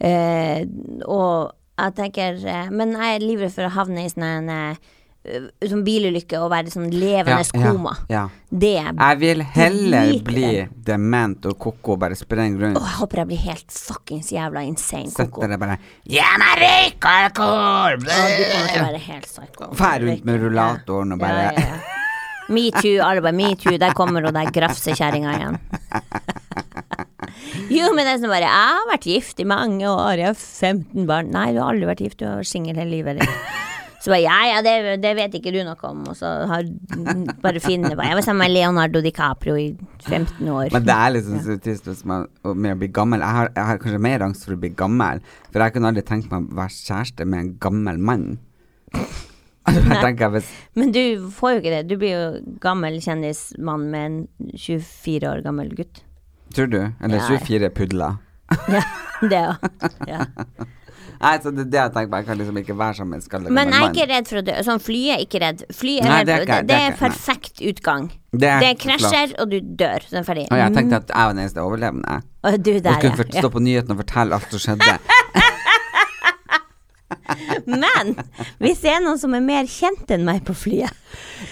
Eh, og jeg tenker eh, Men jeg er livredd for å havne i sånn en eh, sånn bilulykke og være i sånn levende koma.
ja.
Det er jeg,
Jeg vil heller
Livredd.
bli dement og koko bare sprenge rundt.
jeg håper jeg blir helt fuckings jævla insane
Sette
koko.
deg bare Gi meg røyk og alkohol!
Ja, du kommer til å være helt psycho.
Eh, Fær rundt med rullatoren og bare-
ja, ja. Me too, alle bare me too. Der kommer hun der grafsekjerringa igjen.
[LAUGHS]
Jo, men det er sånn bare Jeg har vært gift i mange år, jeg har 15 barn. Nei, du har aldri vært gift, du har vært singel hele livet.
[LAUGHS]
Eller? Så bare ja, ja, det, det vet ikke du noe om, og så har bare Finne bare Jeg var sammen med Leonardo DiCaprio i 15 år.
Men det er liksom så trist hvis man, og med å bli gammel. Jeg har, jeg har kanskje mer angst for å bli gammel, for jeg kunne aldri tenkt meg å være kjæreste med en gammel mann. [LAUGHS] Altså, jeg tenker hvis
Men du får jo ikke det. Du blir jo gammel kjendismann med en 24 år gammel gutt.
Tror du? Eller
Ja.
24 pudler.
Ja, [LAUGHS] det òg.
[LAUGHS]
Ja.
Nei, så det er det jeg tenker på. Jeg kan liksom ikke være sammen med en skalla
Men
gammel
jeg er
mann.
ikke redd for å dø. Sånn, flyet er ikke redd. Flyet er
Nei,
redd.
det er ikke-
det, det
det er
er
ikke- nei.
perfekt utgang.
Det
Det,
er
krasjer, og du dør. Så er det ferdig.
Og jeg
Mm.
tenkte at jeg var den eneste overlevende.
Og du
Og
der,
kunne fort
ja.
stå på nyhetene og fortelle alt som
[LAUGHS]
skjedde.
Men hvis det er noen som er mer kjent enn meg på flyet,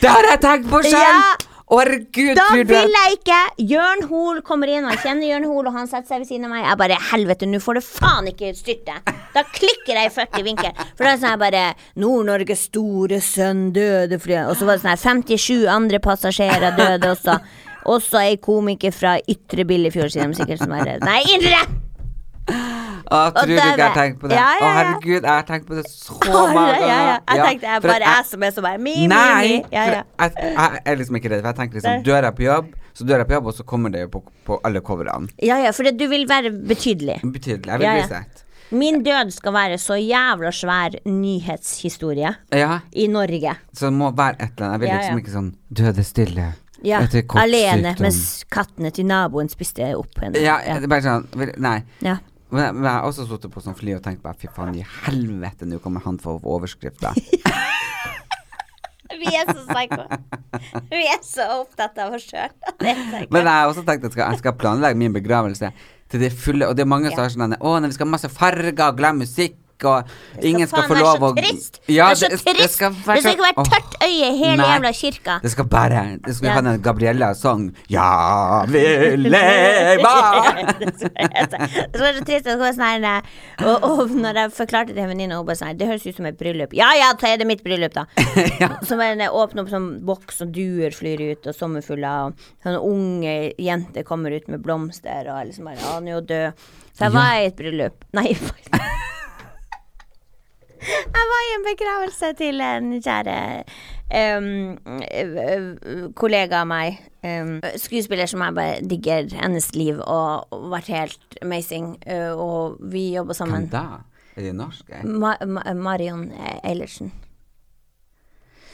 Det har jeg tenkt på selv!
Ja!
Herregud,
da
tror du
vil jeg ikke Jørn Hoel kommer inn, og jeg kjenner Jørn Hoel, og han setter seg ved siden av meg. Jeg bare Helvete, nå får du faen ikke styrte. Da klikker jeg i 40 vinkel. For da er det sånn her bare Nord-Norges store sønn døde fordi Og så var det sånn her 57 andre passasjerer døde også. Også ei komiker fra Ytre Billefjord, sier de sikkert, som er redd. Nei, Indre!
Å, tror du ikke jeg
døde.
har tenkt på det?
Ja, ja,
Å,
ja.
herregud, jeg har tenkt på det så mange
[LAUGHS] Ja,
ganger.
ja, ja. Jeg
Ja,
tenkte jeg
for at
bare jeg som er så bare mi, mi, mi.
Nei!
Ja, ja.
For jeg, jeg er liksom ikke redd, for jeg tenker liksom Dør jeg på jobb, så dør jeg på jobb, og så kommer det jo på, på alle coverene.
ja, ja, for det- du vil være betydelig.
Betydelig. Jeg vil
Ja, ja.
bli sett.
Min død skal være så jævla svær nyhetshistorie
Ja,
i Norge.
så det må være et eller annet. Jeg vil
Ja,
liksom
ja.
ikke sånn Døde stille.
Ja,
Etter kort
Alene
sykdom.
mens kattene til naboen spiste opp henne.
Ja, det er bare sånn vil- Nei.
Ja.
Men jeg, men jeg har også sittet på sånn fly og tenkt bare fy faen i helvete, nå kommer han for
[LAUGHS]
overskrifta.
Vi er så [LAUGHS] psycho. Vi er så opptatt av oss sjøl.
Men eh, jeg har også tenkt at jeg skal, jeg skal planlegge min begravelse til det fulle, og det er mange som har sånn denne, Å, nei, vi skal ha masse farger og glad musikk vekk, og ingen skal
Faen,
få
det er
lov
så
å
trist!
Ja,
det er så trist! Det skal,
så-
ikke være
Åh.
tørt øye i hele
Nei.
jævla kirka.
Det skal bare Det skal
Ja.
ha en Gabriella-sang. Ja, vi
[LAUGHS]
lever!
Det var så trist. Det var sånn her, eh, og, og når jeg forklarte det til en venninne, hun bare sånn her, Det høres ut som et bryllup. Ja ja, så er det mitt bryllup, da. Så bare jeg åpner opp sånn boks, og duer flyr ut, og sommerfugler, og sånne unge jenter kommer ut med blomster, og jeg liksom bare Å, nå er hun død. Så jeg var i et bryllup. Nei, faktisk. Jeg var i en begravelse til en kjære em, ø- ø- kollega av meg. em, skuespiller som jeg bare digger hennes liv, og, og vært helt amazing. ø, og vi jobber sammen.
Men da er det norsk. eh? jeg.
Ma Ma Marion Eilertsen.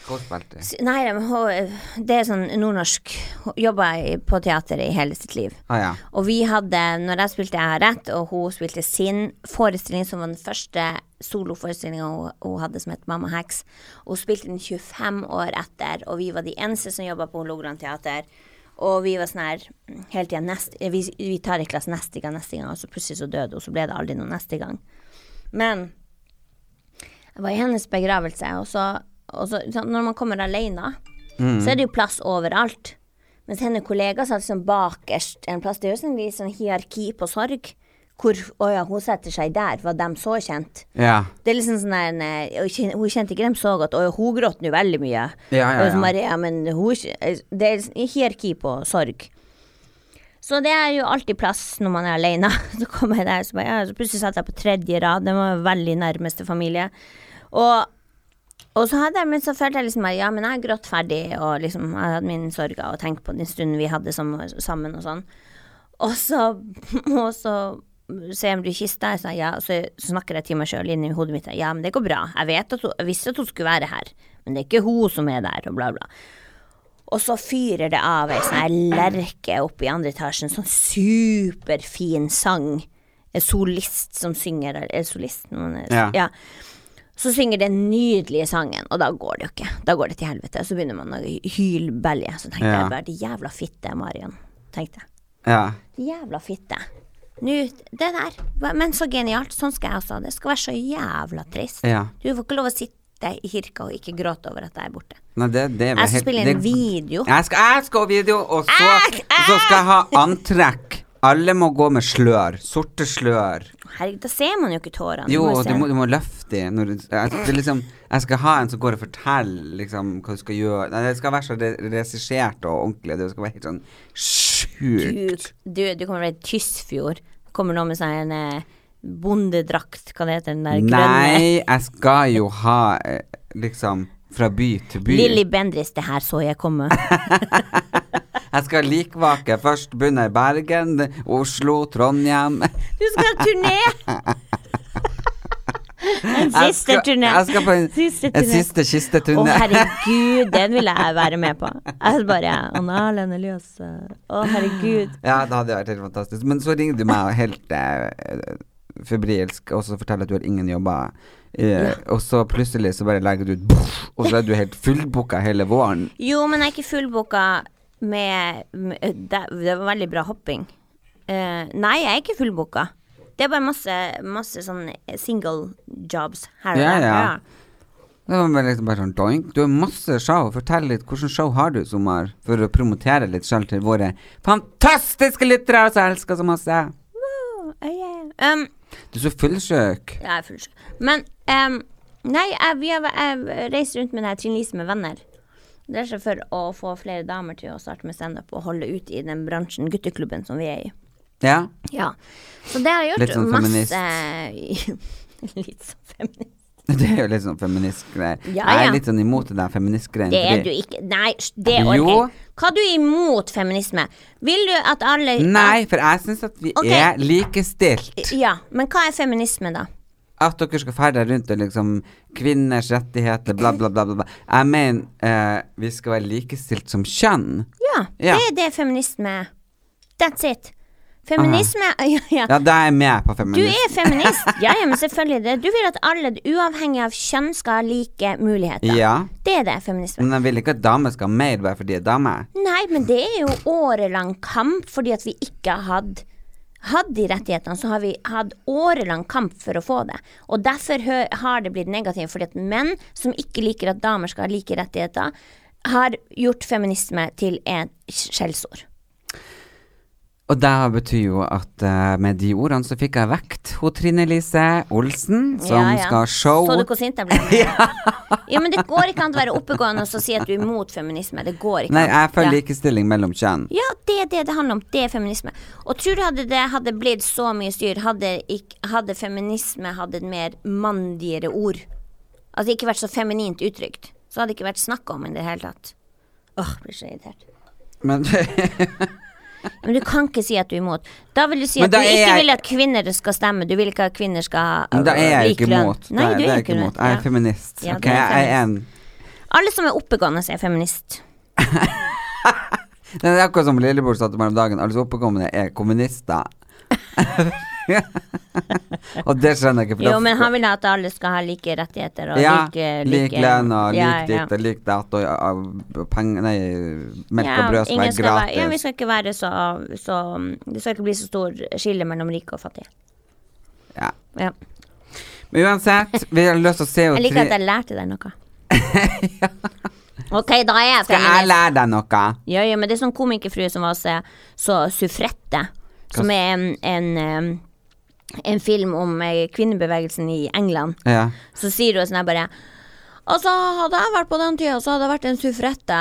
Hvor spilte det?
S- Nei, men hun, det er sånn nordnorsk. Hun jobba i- på teater i hele sitt liv.
Ah, ja.
Og vi hadde, når jeg spilte Jeg har rett, og hun spilte sin forestilling, som var den første soloforestillinga hun, hun hadde, som het Mamma Heks. Hun spilte den 25 år etter, og vi var de eneste som jobba på Hålogaland teater. Og vi var sånn her hele tida nest, vi, vi tar en klasse neste gang, neste gang, og så plutselig så døde hun, så ble det aldri noe neste gang. Men jeg var i hennes begravelse, og så, og så sånn, Når man kommer alene,
Mm.
så er det jo plass overalt. Mens hennes kollega satt liksom bakerst en plass. Det er jo sånn litt sånn hierarki på sorg. Hvor Å ja, hun setter seg der. Var dem så kjent?
ja.
Det er liksom sånn der nei, og kjen- Hun kjente ikke dem så godt. Og hun gråt nå veldig mye.
Ja, ja,
Og så
ja.
Maria, men hun er ikke- Det er liksom hierarki på sorg. Så det er jo alltid plass når man er alene. [LAUGHS] Så kom jeg der, så, bare, ja, så plutselig satt jeg på tredje rad. Det var veldig nærmeste familie. Og, og så hadde jeg, men så følte jeg liksom at ja, men jeg gråt ferdig, og liksom jeg hadde min sorger og tenkte på den stunden vi hadde som, sammen og sånn. Og så, [LAUGHS] og så ser jeg om du kister, så, ja, og så snakker jeg til meg sjøl inni hodet mitt. Ja, men det går bra. Jeg, vet at hun, jeg visste at hun skulle være her, men det er ikke hun som er der, og bla, bla. Og så fyrer det av ei sånn her lerke oppe i andre etasjen, sånn superfin sang. En solist som synger, eller en solist noen er,
Ja.
ja. Så synger den nydelige sangen, og da går det jo ikke. Da går det til helvete. Og så begynner man å hylbelje. Så tenkte
Ja.
jeg bare, det jævla fitte, Marion. Tenkte jeg.
ja.
Jævla fitte. Nå, det der. hva- Men så genialt. Sånn skal jeg også ha det. Det skal være så jævla trist.
Ja.
Du får ikke lov å sitte i kirka og ikke gråte over at jeg er borte.
Nei, det, det er vel
Jeg skal
helt-
spille en
det-
video.
Jeg skal, jeg skal ha video, og så,
Æsj, æsj!
så skal jeg ha antrekk. Alle må gå med slør. Sorte slør.
Herregud, da ser man jo ikke tårene.
Jo,
jo
og
se
du må,
den.
du må løfte i når du jeg, det er liksom, jeg skal ha en som går og forteller liksom, hva du skal gjøre. Nei, det skal være så re- regissert og ordentlig. Det skal være helt sånn sjukt.
du, du, du kommer fra Tysfjord. Kommer nå med seg en eh, bondedrakt, hva det heter den der grønne?
Nei, jeg skal jo ha eh, liksom fra by til by.
Lilly Bendriss, det her så jeg komme.
Jeg skal likvake først begynner Bergen, Oslo, Trondheim.
Du skal ha [LAUGHS] turné! En
Jeg
siste
skal-
turné.
Jeg skal på en,
Siste
en
turné.
siste
Å,
kisteturné.
herregud, den ville jeg være med på. Jeg hadde bare Anna Lene Elias eh, Å, herregud.
[LAUGHS] Ja, det hadde vært helt fantastisk. Men så ringer du meg helt eh, febrilsk og så forteller at du har ingen jobber. Eh, Og så plutselig så bare legger du ut boff, og så er du helt fullbooka hele våren.
Jo, men jeg er ikke fullbooka med, med det, det var veldig bra hopping. Eh, nei, jeg er ikke fullbooka. Det er bare masse, masse sånn single jobs her og
Ja,
der.
ja. Det var bare liksom bare sånn doink. Du har masse show. Fortell litt hvilket show har du i sommer, for å promotere litt sjøl til våre fantastiske lyttere som jeg elsker så masse.
Woo, oh yeah. um,
Du er så fullsjuk.
jeg er fullsjuk. Men em, Nei, jeg, vi har, jeg reiser rundt med det her Trine Lise med venner. Det er for å få flere damer til å starte med standup og holde ut i den bransjen, gutteklubben, som vi er i.
Ja. [LAUGHS]
Ja. Så det har jeg gjort
Litt sånn feminist.
masse [LAUGHS] Litt sånn feminist.
Det er jo litt sånn feministgreier.
Ja,
Jeg
ja.
er litt sånn imot det der feministgreiene.
Det er
fordi-
du ikke. Nei, sj, det orker
Jo.
jeg ikke. Hva er du imot feminisme? Vil du at alle
Nei, for jeg syns at vi
Ok.
er likestilt.
Ja, men hva er feminisme, da?
At dere skal ferde rundt og liksom Kvinners rettigheter, bla, bla, bla. bla, bla. Jeg mener eh, vi skal være likestilt som kjønn.
Ja,
Ja.
det er det feminisme er. That's it. Feminisme [LAUGHS] ja, ja.
Ja, da er jeg med på
Du
feminist.
er feminist. Ja, ja, men selvfølgelig det. Du vil at alle, uavhengig av kjønn, skal ha like muligheter.
Ja. Mm.
Det er det feminisme.
Men jeg vil ikke at damer skal ha mer bare fordi de er damer.
Nei, men det er jo årelang kamp fordi at vi ikke har hatt hatt de rettighetene, så har vi hatt årelang kamp for å få det. Og derfor hø- har det blitt negativt, fordi at menn som ikke liker at damer skal ha like rettigheter, har gjort feminisme til et skjellsord.
Og det betyr jo at eh, med de ordene så fikk jeg vekt ho Trine Lise Olsen, som
Ja, ja.
skal show
Så du hvor sint jeg ble?
[LAUGHS]
ja. ja, men det går ikke an å være oppegående og så si at du er imot feminisme. Det går ikke
Nei,
an.
jeg er for
Ja.
likestilling mellom kjønn.
Ja, det er det det handler om. Det er feminisme. Og tror du hadde det hadde blitt så mye styr, hadde, ikk- hadde feminisme hatt et mer mandigere ord? Altså ikke vært så feminint uttrykt. Så hadde det ikke vært snakk om i det hele tatt. Åh, blir så irritert.
Men [LAUGHS]
Men du kan ikke si at du er imot. Da vil du si
Men
at du
da er
ikke
jeg-
vil at kvinner skal stemme. Du vil ikke at kvinner skal ha
Men da er
øh,
jeg
lik
ikke
lønn.
imot.
Nei,
Da-
du
da
er
jeg
ikke imot.
Jeg
Ja.
er feminist.
Ja,
ok,
du er
jeg er en
feminist. Alle som er oppegående, er feminist.
Det er akkurat som Lillebror sa til meg om dagen, alle som oppegående er
[LAUGHS]
kommunister. og det skjønner jeg ikke. for
Jo,
da-
men han vil at alle skal ha like rettigheter og
ja,
like,
lik lønn og lik
Ja, ja.
ditt og lik datt og ja, og peng- nei, melk og brød som
ingen
er
skal være- Ja, vi
gratis.
skal ikke være så, så Det skal ikke bli så stor skille mellom rike og fattige.
Ja.
Ja.
Men uansett, vi har lyst til å se jo
Jeg liker
Tri-
at jeg lærte
[LAUGHS]
deg noe. Ok, da er jeg
Skal jeg
feminist.
lære deg noe?
Ja, ja, men det er sånn komikerfrue som var så, så suffrette, som er en, en, eh, en film om eh, kvinnebevegelsen i England.
Ja.
Så sier hun sånn her bare Altså, hadde jeg vært på den tida, så hadde jeg vært en suffrette.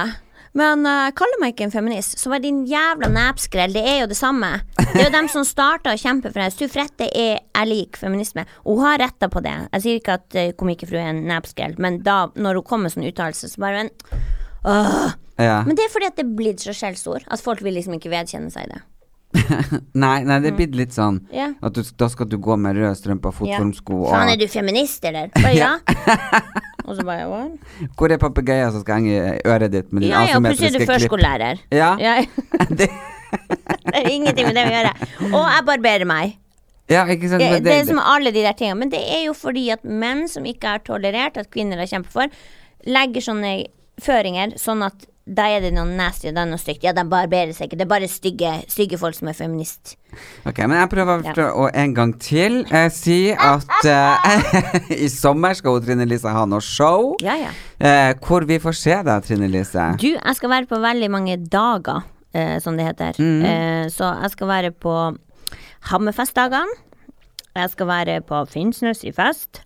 Men uh, kaller meg ikke en feminist, så vær din jævla nepskrell. Det er jo det samme. Det er jo dem som starta å kjempe for det. Suffrette er er lik feminisme. Og hun har retta på det. Jeg sier ikke at eh, komikerfrue er en nepskrell, men da, når hun kommer med sånn uttalelse, så bare men, åh.
ja.
Men det er fordi at det er blitt så skjellsord. At folk vil liksom ikke vedkjenne seg det.
Nei, nei, det er blitt litt sånn
Mm. Ja.
at du, da skal du gå med røde strømper, fotformsko og
Faen, er du feminist, eller? Bare ja. Og så bare what?
Hvor er papegøyen som skal henge i øret ditt med de
Ja, ja, og plutselig er
asymmetriske
du
klipp?
førskolelærer. [LAUGHS]
Ja. [LAUGHS] det,
Det er ingenting med det å gjøre. Og jeg barberer meg.
ja, ikke sant?
Det,
men
det er som alle de der tingene. Men det er jo fordi at menn som ikke har tolerert at kvinner har kjempet for, legger sånne føringer sånn at da er det noe nasty, og da er det noe stygt. Ja, de barberer seg ikke. Det er bare stygge, stygge folk som er feminist.
Ok, men jeg prøver
Ja.
å- å en gang til eh, si at eh, [LAUGHS] i sommer skal hun, Trine Lise ha noe show.
Ja, ja.
Eh, hvor vi får se deg, Trine Lise.
Du, jeg skal være på veldig mange dager, eh, som det heter.
Mm.
Eh, så jeg skal være på Hammerfestdagene. Jeg skal være på Finnsnes i fest.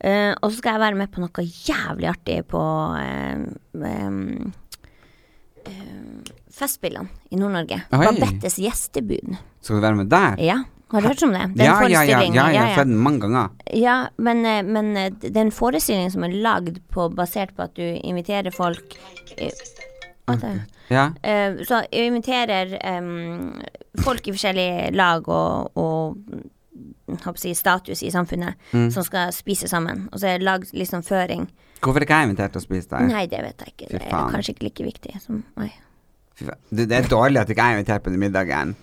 Eh, og så skal jeg være med på noe jævlig artig på eh, em, em, Festspillene i Nord-Norge.
Oi.
Babettes gjestebud.
Skal du være med der?
Ja, har du hørt om det? Det er en
ja, ja, ja,
forestilling.
ja, jeg har sett den mange ganger.
Ja, men, eh, men eh, det er en forestilling som er lagd på, basert på at du inviterer folk eh, å, der.
Ja.
Eh, Så jeg inviterer em, folk i forskjellige lag og, og mm, håper å si, status i samfunnet
Mm.
som skal spise sammen. Og så er det lagd litt sånn føring.
Hvorfor er ikke jeg invitert til å spise der?
Nei, det vet jeg ikke. Det er
faen.
kanskje ikke like viktig som meg.
Fy faen. Du, det er dårlig at ikke jeg er invitert på den middagen.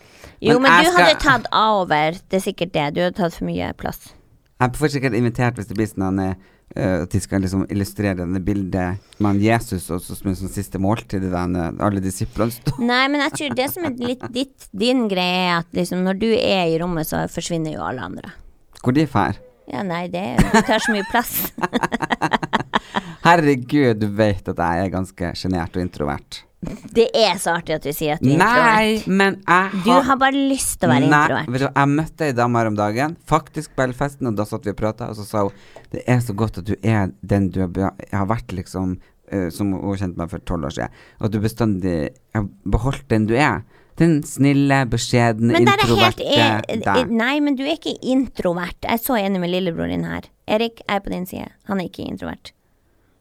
Jo, men,
jeg
du
skal-
hadde tatt A over. Det er sikkert det. Du hadde tatt for mye plass.
Jeg får sikkert invitert hvis det blir sånn eh, at de skal liksom illustrere denne bildet med han Jesus og så som en sånn siste måltid i den eh, alle disiplene står
Nei, men jeg tror det som er litt ditt, din greie, er at liksom når du er i rommet, så forsvinner jo alle andre.
[LAUGHS] Hvor de drar?
Ja, nei, det du tar så mye plass.
[LAUGHS] Herregud, du vet at jeg er ganske sjenert og introvert.
Det er så artig at du sier at du er
Nei,
introvert.
men jeg
Du har bare lyst til å være
Nei,
introvert.
Vet du, hva, jeg møtte ei dame her om dagen, faktisk på Elfesten, og da satt vi og prata, og så sa hun det er så godt at du er den du er be- har vært, liksom, eh, som hun kjente meg for tolv år siden, og at du bestandig har beholdt den du er. Den snille, beskjedne,
Men der er helt
introverte
e- e-
deg.
Nei, men du er ikke introvert. Jeg er så enig med lillebroren din her. Erik jeg er på din side. Han er ikke introvert.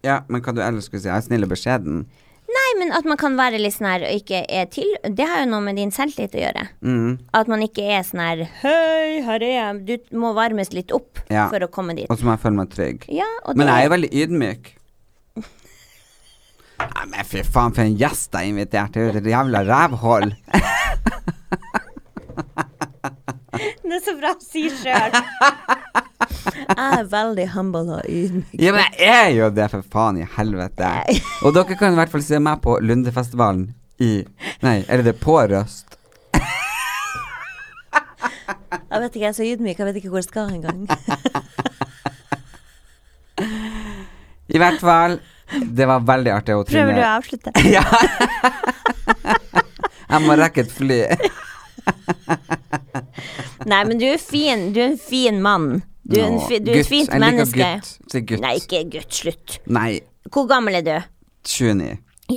Ja, men hva du ellers skulle si? Jeg er snill og beskjeden.
Nei, men at man kan være litt sånn her og ikke er til Det har jo noe med din selvtillit å gjøre.
Mm.
At man ikke er sånn her Hei, her er jeg. Du må varmes litt opp
Ja.
for å komme dit.
Og så må jeg føle meg trygg.
Ja, og
Men
det
jeg er veldig ydmyk. Nei, men fy faen, for en gjest jeg inviterte ut. Et jævla rævhold.
[LAUGHS] Det er så bra å si
[LAUGHS]
sjøl. jeg er veldig humble og ydmyk.
Ja, men jeg er jo det, for faen i helvete. Og dere kan i hvert fall se meg på Lundefestivalen i Nei, eller det er på Røst.
Jeg vet ikke, jeg er så ydmyk, jeg vet ikke hvor jeg skal engang.
I hvert fall, det var veldig artig å
Prøver du å
Trine.
avslutte?
Jeg må rekke et fly.
Nei, men du er fin. Du er en fin mann. Du er, en
Nå,
fi, du er
gutt.
et fint
Jeg liker
menneske.
gutt. Det er gutt.
Nei, ikke gutt. Slutt.
Nei,
Hvor gammel er du?
29.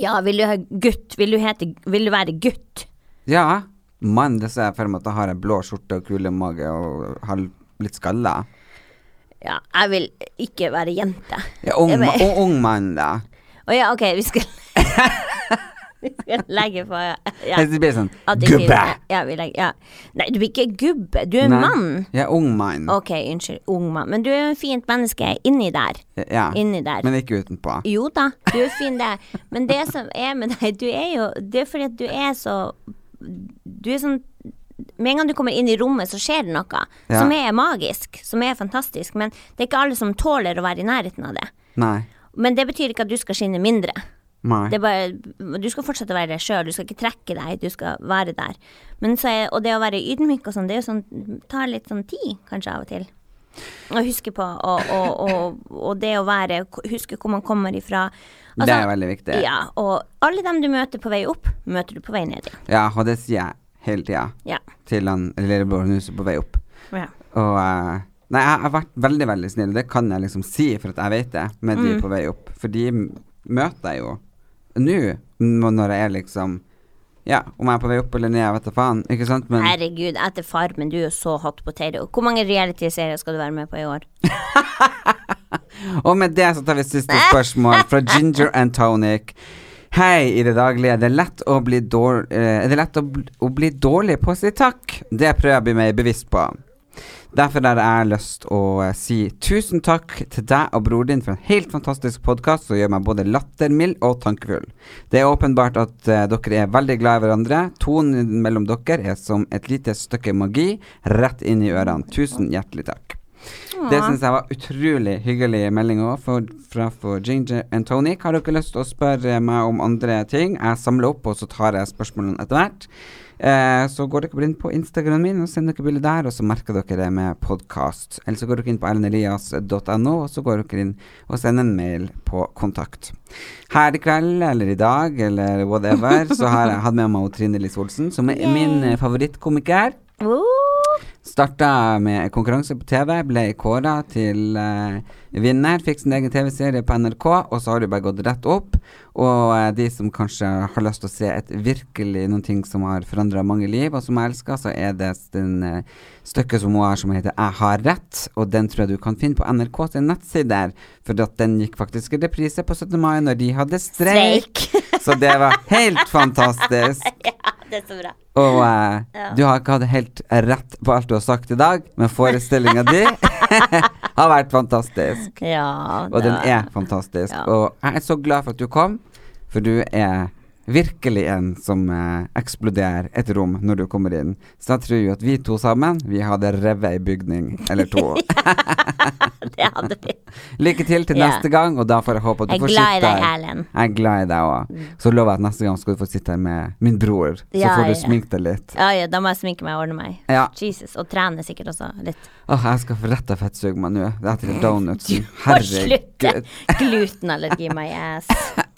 Ja, vil du ha gutt? Vil du, hete, vil du være gutt?
Ja, mann, det ser jeg for meg at jeg har en blå skjorte og kule mage og har litt skalle.
Ja, jeg vil ikke være jente.
Ja, ung,
Jeg
ma-
vil-
og ung mann, da.
Å ja, ok, vi skal [LAUGHS] Vi skal legge på ja. ja.
Det blir sånn
adjektiv.
gubbe!
Ja, vi legger, ja. Nei, du blir ikke gubbe. Du er en
Nei.
mann.
Ja, ung mann.
Ok, unnskyld. Ung mann. Men du er et fint menneske inni der.
Ja.
Inni der.
Men ikke utenpå.
Jo da, du er fin der. Men det som er med deg, du er jo Det er fordi at du er så Du er sånn Med en gang du kommer inn i rommet, så skjer det noe
Ja.
som er magisk, som er fantastisk. Men det er ikke alle som tåler å være i nærheten av det.
Nei.
Men det betyr ikke at du skal skinne mindre.
Nei.
Det er bare, du skal fortsette å være deg sjøl, du skal ikke trekke deg, du skal være der. Men så er, og det å være ydmyk og sånn, det er jo sånn, tar litt sånn tid, kanskje, av og til. Å huske på, og, og, og, og det å være Huske hvor man kommer ifra. Altså,
Det er veldig viktig.
Ja, og alle dem du møter på vei opp, møter du på vei ned igjen.
Ja, og det sier jeg hele tida
Ja.
til han lillebroren huset på vei opp.
Ja.
Og eh, Nei, jeg har vært veldig, veldig snill, og det kan jeg liksom si, for at jeg vet det, med de
Mm.
på vei opp. For de m- møter jeg jo nå, m- når jeg er liksom Ja, om jeg er på vei opp eller ned, jeg vet da faen, ikke sant? Men
Herregud, etter Farmen, du er jo så hot potato. Hvor mange reality-serier skal du være med på i år?
Og med det så tar vi siste spørsmål fra Ginger and Tonic. Hei, i det daglige er det lett å bli, dår, eh, er det lett å, bl- å bli dårlig på å si takk. Det prøver jeg å bli mer bevisst på. Derfor har jeg lyst å eh, si tusen takk til deg og bror din for en helt fantastisk podkast som gjør meg både lattermild og tankefull. Det er åpenbart at eh, dere er veldig glad i hverandre. Tonen mellom dere er som et lite stykke magi rett inn i ørene. Tusen hjertelig takk. Det syns jeg var utrolig hyggelig melding òg, fra for Ginger and Tonic. Har dere lyst til å spørre meg om andre ting? Jeg samler opp, og så tar jeg spørsmålene etter hvert. Eh, så går dere bare inn på Instagramen min og sender dere bilder der, og så merker dere det med podkast. Eller så går dere inn på erlendelias.no, og så går dere inn og sender en mail på kontakt. Her i kveld, eller i dag, eller whatever, så har jeg hatt med meg Trine Lise Olsen, som er min eh, favorittkomiker.
Woo!
Starta med konkurranse på TV, ble kåra til eh, vinner. Fikk sin egen TV-serie på NRK, og så har det bare gått rett opp. Og eh, de som kanskje har lyst til å se et virkelig noen ting som har forandra mange liv, og som jeg elsker, så er det den eh, stykket som hun har som heter 'Jeg har rett', og den tror jeg du kan finne på NRK sin nettsider, for at den gikk faktisk i reprise på 17. mai når de hadde streik. så det var helt fantastisk.
ja, det er så bra.
Og eh, du har ikke hatt helt rett på alt du har sagt i dag, men forestillinga
[LAUGHS]
di har vært fantastisk.
Ja,
Og den
var-
er fantastisk. Og jeg er så glad for at du kom, for du er virkelig en som eh, eksploderer et rom når du kommer inn. Så jeg tror jo at vi to sammen, vi hadde revet ei bygning eller
[LAUGHS]
to.
Det hadde vi.
Lykke til til
Ja.
neste gang, og da får jeg håpe at du
Jeg er
får sitte
glad i deg, Erlend. Mm.
Jeg er glad i deg òg. Så lover jeg at neste gang skal du få sitte her med min bror, så
Ja,
får du
ja.
sminke deg litt.
Ja, ja, da må jeg sminke meg og ordne meg.
Ja.
Jesus, Og trene sikkert også litt.
Åh, jeg skal få rett og fettsuge meg nå. Det er til donutsen.
Og slutte!
Herregud.
Glutenallergi, my ass.